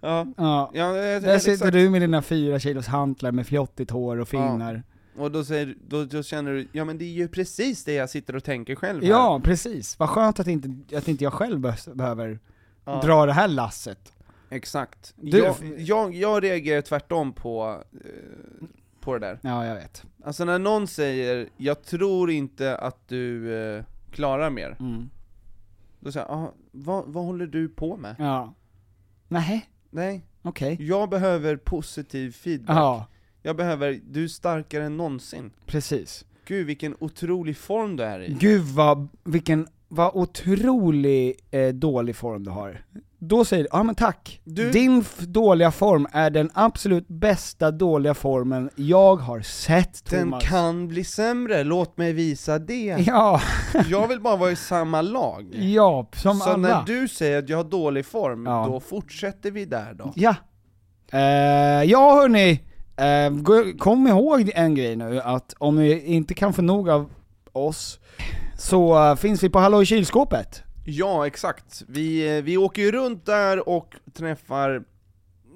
[SPEAKER 3] ja.
[SPEAKER 2] Ja.
[SPEAKER 3] ja jag-
[SPEAKER 2] Där sitter
[SPEAKER 3] exakt.
[SPEAKER 2] du med dina fyra kilos hantlar med flottigt hår och finnar.
[SPEAKER 3] Och då, säger, då, då känner du, ja men det är ju precis det jag sitter och tänker själv här.
[SPEAKER 2] Ja, precis. Vad skönt att inte, att inte jag själv be- behöver
[SPEAKER 3] Ja,
[SPEAKER 2] dra det här lasset.
[SPEAKER 3] Exakt.
[SPEAKER 2] Du-
[SPEAKER 3] jag, jag, jag reagerar tvärtom på, eh, på det där.
[SPEAKER 2] Ja, jag vet.
[SPEAKER 3] Alltså när någon säger, jag tror inte att du eh, klarar mer, då säger jag, "Ah, vad, vad håller du på med?
[SPEAKER 2] Ja. Nej,
[SPEAKER 3] Nej,
[SPEAKER 2] okej.
[SPEAKER 3] jag behöver positiv feedback.
[SPEAKER 2] Ja,
[SPEAKER 3] Jag behöver, du är starkare än någonsin.
[SPEAKER 2] precis.
[SPEAKER 3] Gud vilken otrolig form du är i.
[SPEAKER 2] Gud vad, vilken, vad otrolig eh, dålig form du har. Då säger du, ja men tack.
[SPEAKER 3] Du-
[SPEAKER 2] Din f- dåliga form är den absolut bästa dåliga formen jag har sett
[SPEAKER 3] Den
[SPEAKER 2] Thomas.
[SPEAKER 3] kan bli sämre, låt mig visa det.
[SPEAKER 2] *laughs* Ja,
[SPEAKER 3] Jag vill bara vara i samma lag.
[SPEAKER 2] ja, som
[SPEAKER 3] Så
[SPEAKER 2] alla.
[SPEAKER 3] när du säger att jag har dålig form,
[SPEAKER 2] Ja.
[SPEAKER 3] då fortsätter vi där då.
[SPEAKER 2] Ja. Eh, ja hörni, Eh, gå- kom ihåg en grej nu att om ni inte kan få nog av oss, så eh, finns vi på Hallå i kylskåpet.
[SPEAKER 3] Ja, exakt. Vi, eh, vi åker ju runt där och träffar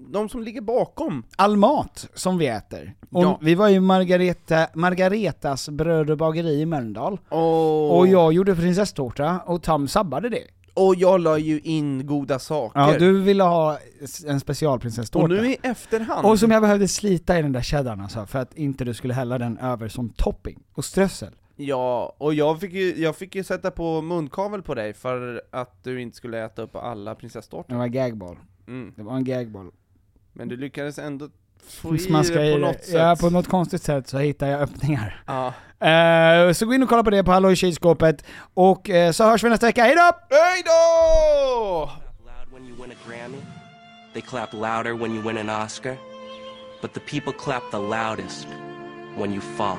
[SPEAKER 3] de som ligger bakom.
[SPEAKER 2] All mat som vi äter. Och
[SPEAKER 3] Ja.
[SPEAKER 2] Vi var ju Margareta, Margaretas brödbageri i Mölndal,
[SPEAKER 3] Och,
[SPEAKER 2] och jag gjorde prinsesstårta och Tam sabbade det.
[SPEAKER 3] och jag la ju in goda saker.
[SPEAKER 2] Ja, du ville ha s- en
[SPEAKER 3] och
[SPEAKER 2] specialprinsesstårta.
[SPEAKER 3] nu i efterhand,
[SPEAKER 2] Och som jag behövde slita i den där cheddarn alltså, för att inte du skulle hälla den över som topping och strössel.
[SPEAKER 3] ja, och jag fick, ju, jag fick ju sätta på munkavel på dig för att du inte skulle äta upp alla prinsesstårtor.
[SPEAKER 2] Det var gagball.
[SPEAKER 3] Mm.
[SPEAKER 2] Det var en gagball. Mm,
[SPEAKER 3] Men du lyckades ändå få i
[SPEAKER 2] Smaska
[SPEAKER 3] det
[SPEAKER 2] i
[SPEAKER 3] på
[SPEAKER 2] det.
[SPEAKER 3] något sätt.
[SPEAKER 2] Ja, på något konstigt sätt så hittar jag öppningar.
[SPEAKER 3] Ja.
[SPEAKER 2] Eh, så gå in och kolla på det på Hallå i kylskåpet, och eh, så hörs vi nästa vecka, hejdå!
[SPEAKER 3] Hej då!
[SPEAKER 4] loud when you win a Grammy. They clap louder when you win an Oscar. But the people clap the loudest when you fall.